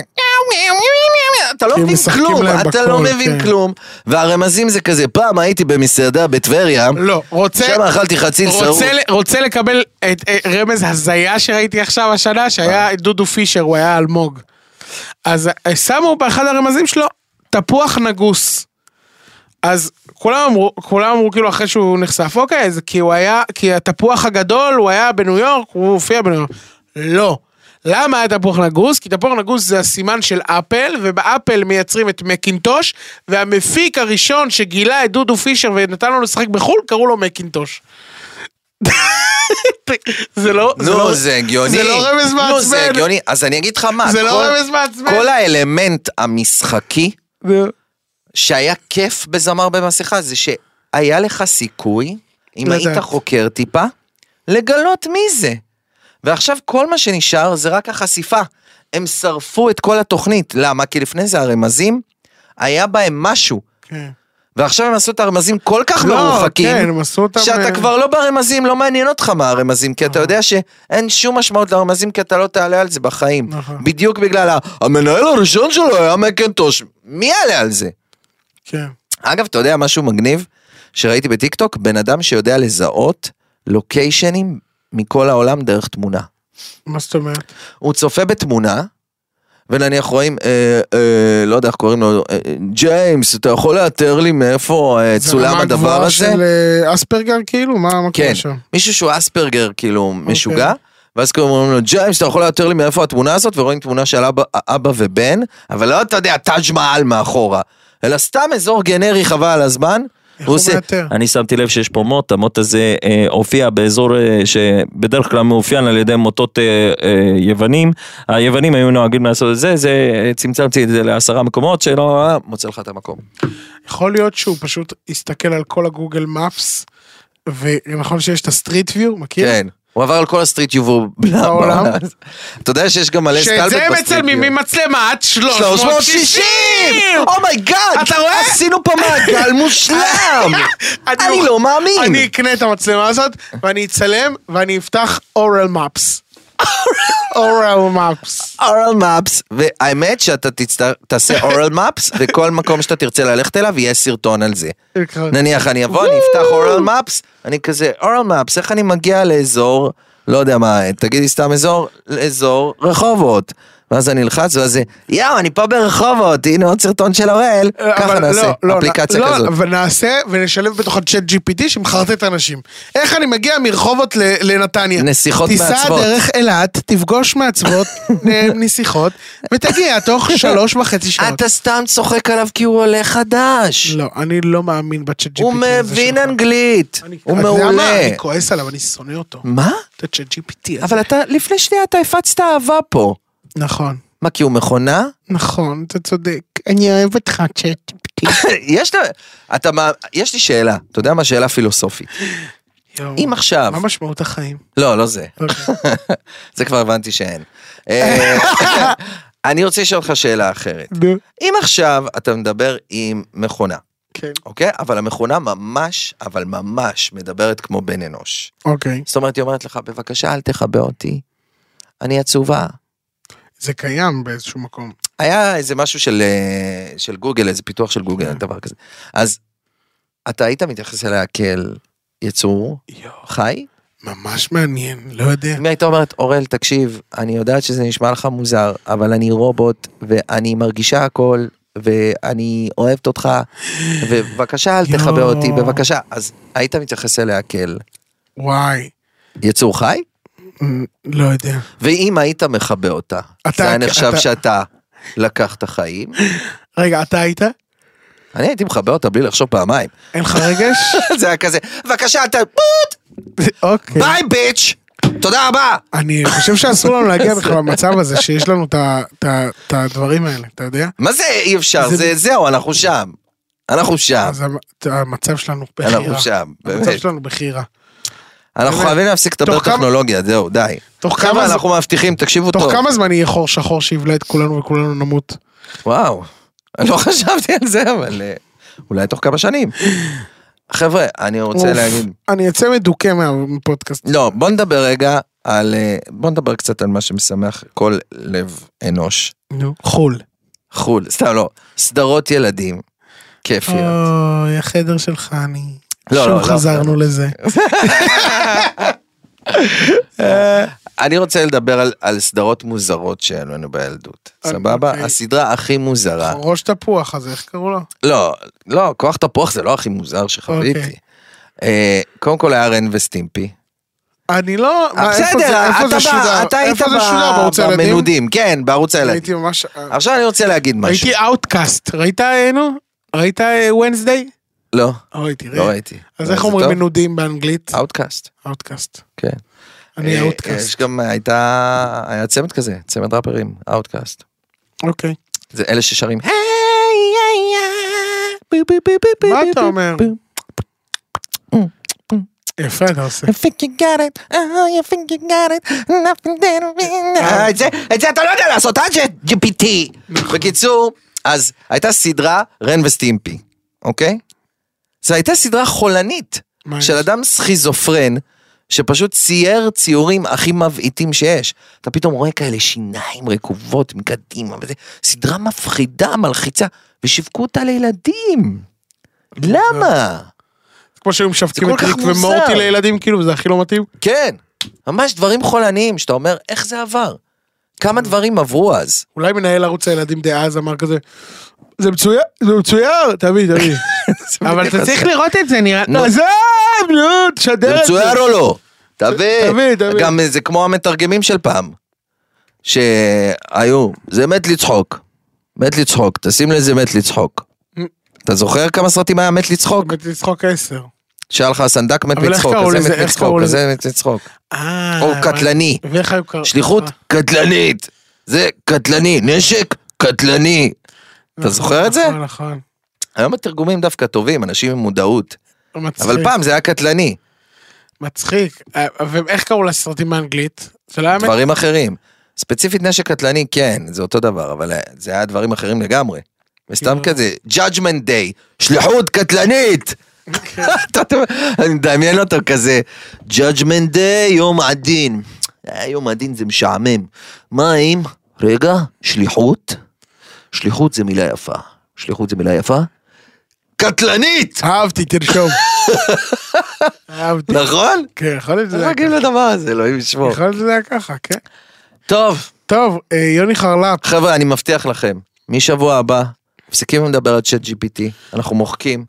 S3: אתה לא
S2: כי הם
S3: מבין
S2: משחקים
S3: כלום,
S2: להם
S3: אתה לא
S2: בקול,
S3: מבין
S2: כן.
S3: כלום, והרמזים זה כזה, פעם הייתי במסעדה בטבריה,
S2: לא, רוצה...
S3: שם אכלתי חציל שרוף.
S2: רוצה, ל- רוצה לקבל את, את רמז הזיה שראיתי עכשיו השנה,
S3: אה.
S2: שהיה את דודו פישר, הוא היה אלמוג. אז אה, שמו באחד הרמזים שלו תפוח נגוס. אז כולם אמרו, כולם אמרו כאילו אחרי שהוא נחשף, אוקיי, זה כי הוא היה, כי התפוח הגדול, הוא היה בניו יורק, הוא הופיע בניו יורק. לא. למה היה תפוח נגוס? כי תפוח נגוס זה הסימן של אפל, ובאפל מייצרים את מקינטוש, והמפיק הראשון שגילה את דודו פישר ונתן לו לשחק בחו"ל, קראו לו מקינטוש. זה לא, זה לא,
S3: נו, זה הגיוני.
S2: זה לא רמז
S3: נו, זה
S2: מעצבן.
S3: הגיוני. אז אני אגיד לך מה,
S2: זה לא
S3: כל-
S2: רמז מעצבן.
S3: כל האלמנט המשחקי שהיה כיף בזמר במסכה זה שהיה לך סיכוי, אם
S2: לדעת.
S3: היית חוקר טיפה, לגלות מי זה. ועכשיו כל מה שנשאר זה רק החשיפה. הם שרפו את כל התוכנית. למה? כי לפני זה הרמזים, היה בהם משהו.
S2: כן.
S3: ועכשיו הם עשו את הרמזים כל כך
S2: לא,
S3: מרוחקים,
S2: כן, הם עשו אותם,
S3: שאתה
S2: אה, נכון.
S3: כבר לא ברמזים, לא מעניין אותך מה הרמזים, כי אתה יודע שאין שום משמעות לרמזים, כי אתה לא תעלה על זה בחיים.
S2: נכון.
S3: בדיוק בגלל ה- המנהל הראשון שלו היה מקנטוש, מי יעלה על זה?
S2: כן.
S3: אגב, אתה יודע משהו מגניב שראיתי בטיקטוק? בן אדם שיודע לזהות לוקיישנים מכל העולם דרך תמונה.
S2: מה זאת אומרת?
S3: הוא צופה בתמונה, ונניח רואים, אה, אה, לא יודע איך קוראים לו, אה, אה, ג'יימס, אתה יכול לאתר לי מאיפה אה,
S2: זה
S3: צולם
S2: רמה
S3: הדבר
S2: גבוהה
S3: הזה?
S2: של אה, אספרגר כאילו? מה מה
S3: כן,
S2: קורה שם?
S3: מישהו שהוא אספרגר כאילו
S2: אוקיי.
S3: משוגע. ואז כאילו אומרים לו, ג'יימס, אתה יכול לאתר לי מאיפה התמונה הזאת? ורואים תמונה של אבא, אבא ובן, אבל לא, אתה יודע, תאג' מעל מאחורה. אלא סתם אזור גנרי חבל על הזמן.
S2: הוא מאתר?
S5: אני שמתי לב שיש פה מוט, המוט הזה אה, הופיע באזור אה, שבדרך כלל מאופיין על ידי מוטות אה, אה, יוונים. היוונים היו נוהגים לעשות את זה, זה אה, צמצמתי את זה לעשרה מקומות שלא...
S3: אה, מוצא לך את המקום.
S2: יכול להיות שהוא פשוט הסתכל על כל הגוגל מפס, ונכון שיש את הסטריט ויו, מכיר?
S3: כן. הוא עבר על כל הסטריט יובו
S2: בעולם.
S3: אתה יודע שיש גם מלא סטלבט
S2: שאת זה
S3: בסטריט
S2: מצלמים
S3: יובו.
S2: ממצלמת
S3: 360!
S2: 360!
S3: אומייגאד!
S2: אתה רואה?
S3: Oh עשינו פה מעגל מושלם!
S2: אני
S3: אני
S2: מוכ-
S3: לא מאמין!
S2: אני אקנה את המצלמה הזאת, ואני אצלם, ואני אפתח אורל מפס. אורל מפס.
S3: אורל מפס, והאמת שאתה תצטר- תעשה אורל מפס, וכל מקום שאתה תרצה ללכת אליו יהיה סרטון על זה.
S2: אוקיי.
S3: נניח אני אבוא, אני אפתח אורל מפס, אני כזה, אורל מפס, איך אני מגיע לאזור, לא יודע מה, תגידי סתם אזור, לאזור רחובות. ואז אני אלחץ, ואז זה, יאו, אני פה ברחובות, הנה עוד סרטון של אוראל. ככה
S2: אבל
S3: נעשה,
S2: לא, לא,
S3: אפליקציה
S2: לא,
S3: כזאת.
S2: ונעשה ונשלב בתוכו צ'אט GPT שמחרטט אנשים. איך אני מגיע מרחובות ל- לנתניה?
S3: נסיכות מעצבות.
S2: תיסע דרך אילת, תפגוש מעצבות, נ- נסיכות, ותגיע תוך שלוש וחצי שעות.
S3: אתה סתם צוחק עליו כי הוא עולה חדש.
S2: לא, אני לא מאמין בצ'אט GPT.
S3: הוא
S2: הזה
S3: מבין
S2: שלך.
S3: אנגלית,
S2: אני-
S3: הוא
S2: אתה יודע מה?
S3: מעולה.
S2: אני כועס עליו, אני שונא אותו.
S3: מה?
S2: את הצ'אט GPT הזה.
S3: אבל אתה, לפני שנייה אתה הפצת אהבה פה.
S2: נכון,
S3: מה, כי הוא מכונה?
S2: נכון, אתה צודק. אני אוהב אותך, צ'אט GPT.
S3: יש לה- אתה מה- יש לי שאלה, אתה יודע מה? שאלה פילוסופית.
S2: יואו.
S3: אם עכשיו,
S2: מה משמעות החיים?
S3: לא, לא זה,
S2: אוקיי.
S3: זה כבר הבנתי שאין. אה, אני רוצה לשאול אותך שאלה אחרת.
S2: נו,
S3: אם עכשיו אתה מדבר עם מכונה,
S2: כן.
S3: אוקיי? אבל המכונה ממש, אבל ממש מדברת כמו בן אנוש.
S2: אוקיי.
S3: זאת אומרת, היא אומרת לך, בבקשה, אל תכבה אותי, אני עצובה.
S2: זה קיים באיזשהו מקום.
S3: היה איזה משהו של, אה, של גוגל, איזה פיתוח של
S2: כן.
S3: גוגל, דבר כזה. אז אתה היית מתייחס אליה כאל יצור חי?
S2: ממש מעניין, לא יודע.
S3: אם הייתה אומרת, אורל, תקשיב, אני יודעת שזה נשמע לך מוזר, אבל אני רובוט, ואני מרגישה הכל, ואני אוהבת אותך, ובבקשה אל תכבה
S2: יואו.
S3: אותי, בבקשה. אז היית מתייחס אליה כאל
S2: וואי,
S3: יצור חי?
S2: מ, לא יודע.
S3: ואם היית מכבה אותה,
S2: אתה-
S3: זה היה נחשב
S2: אתה-
S3: שאתה לקחת חיים?
S2: רגע, אתה היית?
S3: אני הייתי מכבה אותה בלי לחשוב פעמיים.
S2: אין לך רגש?
S3: זה היה כזה, בבקשה, אתה... פוט!
S2: אוקיי.
S3: ביי, ביץ'! תודה רבה!
S2: אני חושב שאסור לנו להגיע בכלל למצב הזה שיש לנו את ה- את ה- את הדברים האלה, אתה יודע?
S3: מה זה אי אפשר?
S2: זה-
S3: זה- זהו, אנחנו שם. אנחנו שם.
S2: אז המ- ת- המצב שלנו בכי רע.
S3: אנחנו שם,
S2: המצב
S3: באמת.
S2: שלנו בכי רע.
S3: אנחנו
S2: באמת.
S3: חייבים להפסיק לדבר
S2: תוך כמה-
S3: טכנולוגיה, זהו, די.
S2: תוך כמה
S3: כמה
S2: ז-
S3: אנחנו מבטיחים, תקשיבו
S2: תוך
S3: טוב.
S2: כמה זמן יהיה חור שחור שיבלע את כולנו וכולנו נמות?
S3: וואו, אני לא חשבתי על זה, אבל אה, אולי תוך כמה שנים. חבר'ה, אני רוצה
S2: אוף,
S3: להגיד...
S2: אני אצא מדוכא מהפודקאסט.
S3: לא, בוא נדבר רגע על... אה, בוא נדבר קצת על מה שמשמח כל לב אנוש.
S2: נו. חול.
S3: חו"ל, סתם לא. סדרות ילדים. כיפיות.
S2: אוי, החדר שלך, אני...
S3: לא, לא,
S2: שוב
S3: לא.
S2: חזרנו לזה.
S3: אני רוצה לדבר על, על סדרות מוזרות שהיו לנו בילדות,
S2: אה,
S3: סבבה?
S2: אוקיי.
S3: הסדרה הכי מוזרה,
S2: ראש תפוח הזה, איך קראו לו?
S3: לא, לא, כוח תפוח זה לא הכי מוזר
S2: אוקיי.
S3: שחוויתי. אה, קודם כל היה רן וסטימפי.
S2: אני לא... מה, איפה
S3: בסדר,
S2: זה- איפה
S3: אתה
S2: זה
S3: בא-
S2: שודר?
S3: אתה היית
S2: איפה זה
S3: ב-
S2: שודר? בערוץ הילדים?
S3: במנודים, כן, בערוץ
S2: הייתי
S3: הילדים.
S2: ממש...
S3: עכשיו אני רוצה להגיד משהו.
S2: הייתי אאוטקאסט. ראית, אה, נו? ראית אה, וונסדיי?
S3: לא,
S2: אוי,
S3: לא
S2: תראה.
S3: ראיתי.
S2: אז
S3: זה
S2: איך אומרים
S3: טוב?
S2: מנודים באנגלית?
S3: אאוטקאסט,
S2: אאוטקאסט.
S3: כן.
S2: אני
S3: אה, יש
S2: אאוטקאסט.
S3: גם הייתה, היה צמד כזה, צמד ראפרים, אאוטקאסט.
S2: אוקיי.
S3: זה אלה ששרים, היי, היי, היי, בו, בו, בו, בו, בו,
S2: מה
S3: בו,
S2: אתה
S3: בו,
S2: אומר?
S3: בו.
S2: יפה אתה עושה.
S3: I think you got it, oh, you think you got it, nothing that we know. את זה- את זה אתה לא יודע לעשות, אה, GPT. בקיצור, אז הייתה סדרה רן וסטימפי, אוקיי? זו הייתה סדרה חולנית
S2: מה
S3: של
S2: יש?
S3: אדם סכיזופרן, שפשוט צייר ציורים הכי מבעיטים שיש. אתה פתאום רואה כאלה שיניים רקובות מקדימה וזה, סדרה מפחידה, מלחיצה, ושיווקו אותה לילדים. למה?
S2: כמו שהיו משווקים
S3: כל
S2: את
S3: כך
S2: ריק
S3: מוזר.
S2: ומורטי לילדים, כאילו, זה הכי לא מתאים.
S3: כן, ממש דברים חולניים שאתה אומר, איך זה עבר? כמה דברים עברו אז?
S2: אולי מנהל ערוץ הילדים דאז אמר כזה, זה מצויר, זה מצויר, תביא, תביא. אבל אתה צריך לראות את זה, נראה,
S3: נו.
S2: לא, עזוב, נו,
S3: זה
S2: תשדר את זה.
S3: מצויר או לא? תביא,
S2: תביא, תביא.
S3: גם זה כמו המתרגמים של פעם, שהיו, זה מת לצחוק, מת לצחוק, תשים לזה מת לצחוק. אתה זוכר כמה סרטים היה מת לצחוק?
S2: באמת לצחוק עשר.
S3: שהיה לך סנדק מת
S2: אבל איך
S3: לצחוק,
S2: קראו
S3: כזה
S2: לזה?
S3: מת
S2: איך קראו
S3: לצחוק, כזה מת לצחוק.
S2: אה,
S3: או
S2: מה-
S3: קטלני.
S2: ואיך היו קראו?
S3: שליחות
S2: אה,
S3: קטלנית, זה קטלני, נשק קטלני. אתה
S2: נכון,
S3: זוכר את זה?
S2: נכון, נכון.
S3: היום התרגומים דווקא טובים, אנשים עם מודעות.
S2: מצחיק.
S3: אבל פעם זה היה קטלני,
S2: מצחיק. אה, ואיך קראו לסרטים באנגלית? זה לא היה... מת-
S3: דברים אחרים. ספציפית נשק קטלני, כן, זה אותו דבר, אבל אה, זה היה דברים אחרים לגמרי. וסתם
S2: כאילו-
S3: כזה, judgment day, שליחות קטלנית!
S2: כן.
S3: אתה- אתה- אני מדמיין אותו כזה, judgment day, יום הדין. אה, יום הדין זה משעמם. מה אם, רגע, שליחות? שליחות זה מילה יפה. שליחות זה מילה יפה? קטלנית!
S2: אהבתי, תרשום. אהבתי.
S3: נכון?
S2: כן, יכול להיות
S3: איך
S2: שזה היה
S3: מגיעים
S2: ככה.
S3: לדבר הזה, אלוהים ישמור.
S2: יכול להיות שזה היה ככה, כן.
S3: טוב.
S2: טוב, אה, יוני חרלפ.
S3: חבר'ה, אני מבטיח לכם, משבוע הבא, מפסיקים לדבר על צ'אט GPT, אנחנו מוחקים,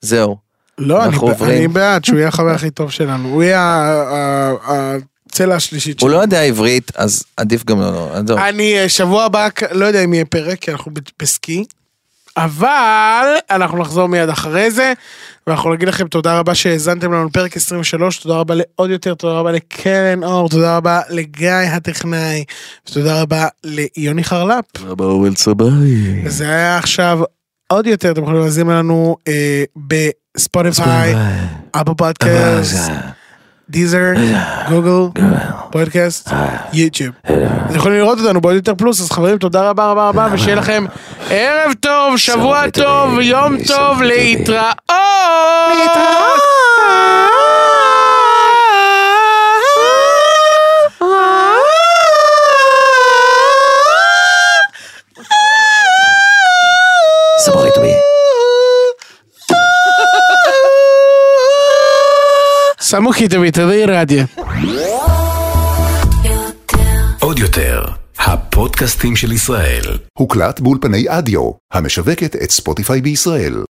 S3: זהו.
S2: לא, אני,
S3: אנחנו
S2: ב-
S3: עוברים.
S2: אני בעד שהוא יהיה החבר הכי טוב שלנו. הוא יהיה ה- ה- ה- הצלע השלישית
S3: הוא
S2: שלנו.
S3: לא יודע עברית, אז עדיף גם לא, לא, עזוב.
S2: אני אה, שבוע הבא, כ- לא יודע אם יהיה פרק, כי אנחנו ב- בסקי. אבל אנחנו נחזור מיד אחרי זה, ואנחנו נגיד לכם תודה רבה שהאזנתם לנו לפרק 23, תודה רבה לעוד יותר, תודה רבה לקרן אור, תודה רבה לגיא הטכנאי, ותודה רבה ליוני חרלפ.
S3: כן.
S2: זה היה עכשיו עוד יותר, אתם יכולים להזין לנו אה, בספוטיפיי, אפל פודקאסט, דיזר, גוגל, פודקאסט, יוטיוב. אתם יכולים לראות אותנו בעוד יותר פלוס, אז חברים, תודה רבה רבה רבה, ושיהיה לכם ערב טוב, שבוע טוב, יום טוב, להתראות!
S3: סברי טובי.
S2: סמוכית ומטרדי רדיו.
S1: עוד יותר, הפודקאסטים של ישראל.
S6: הוקלט באולפני אדיו, המשווקת את ספוטיפיי בישראל.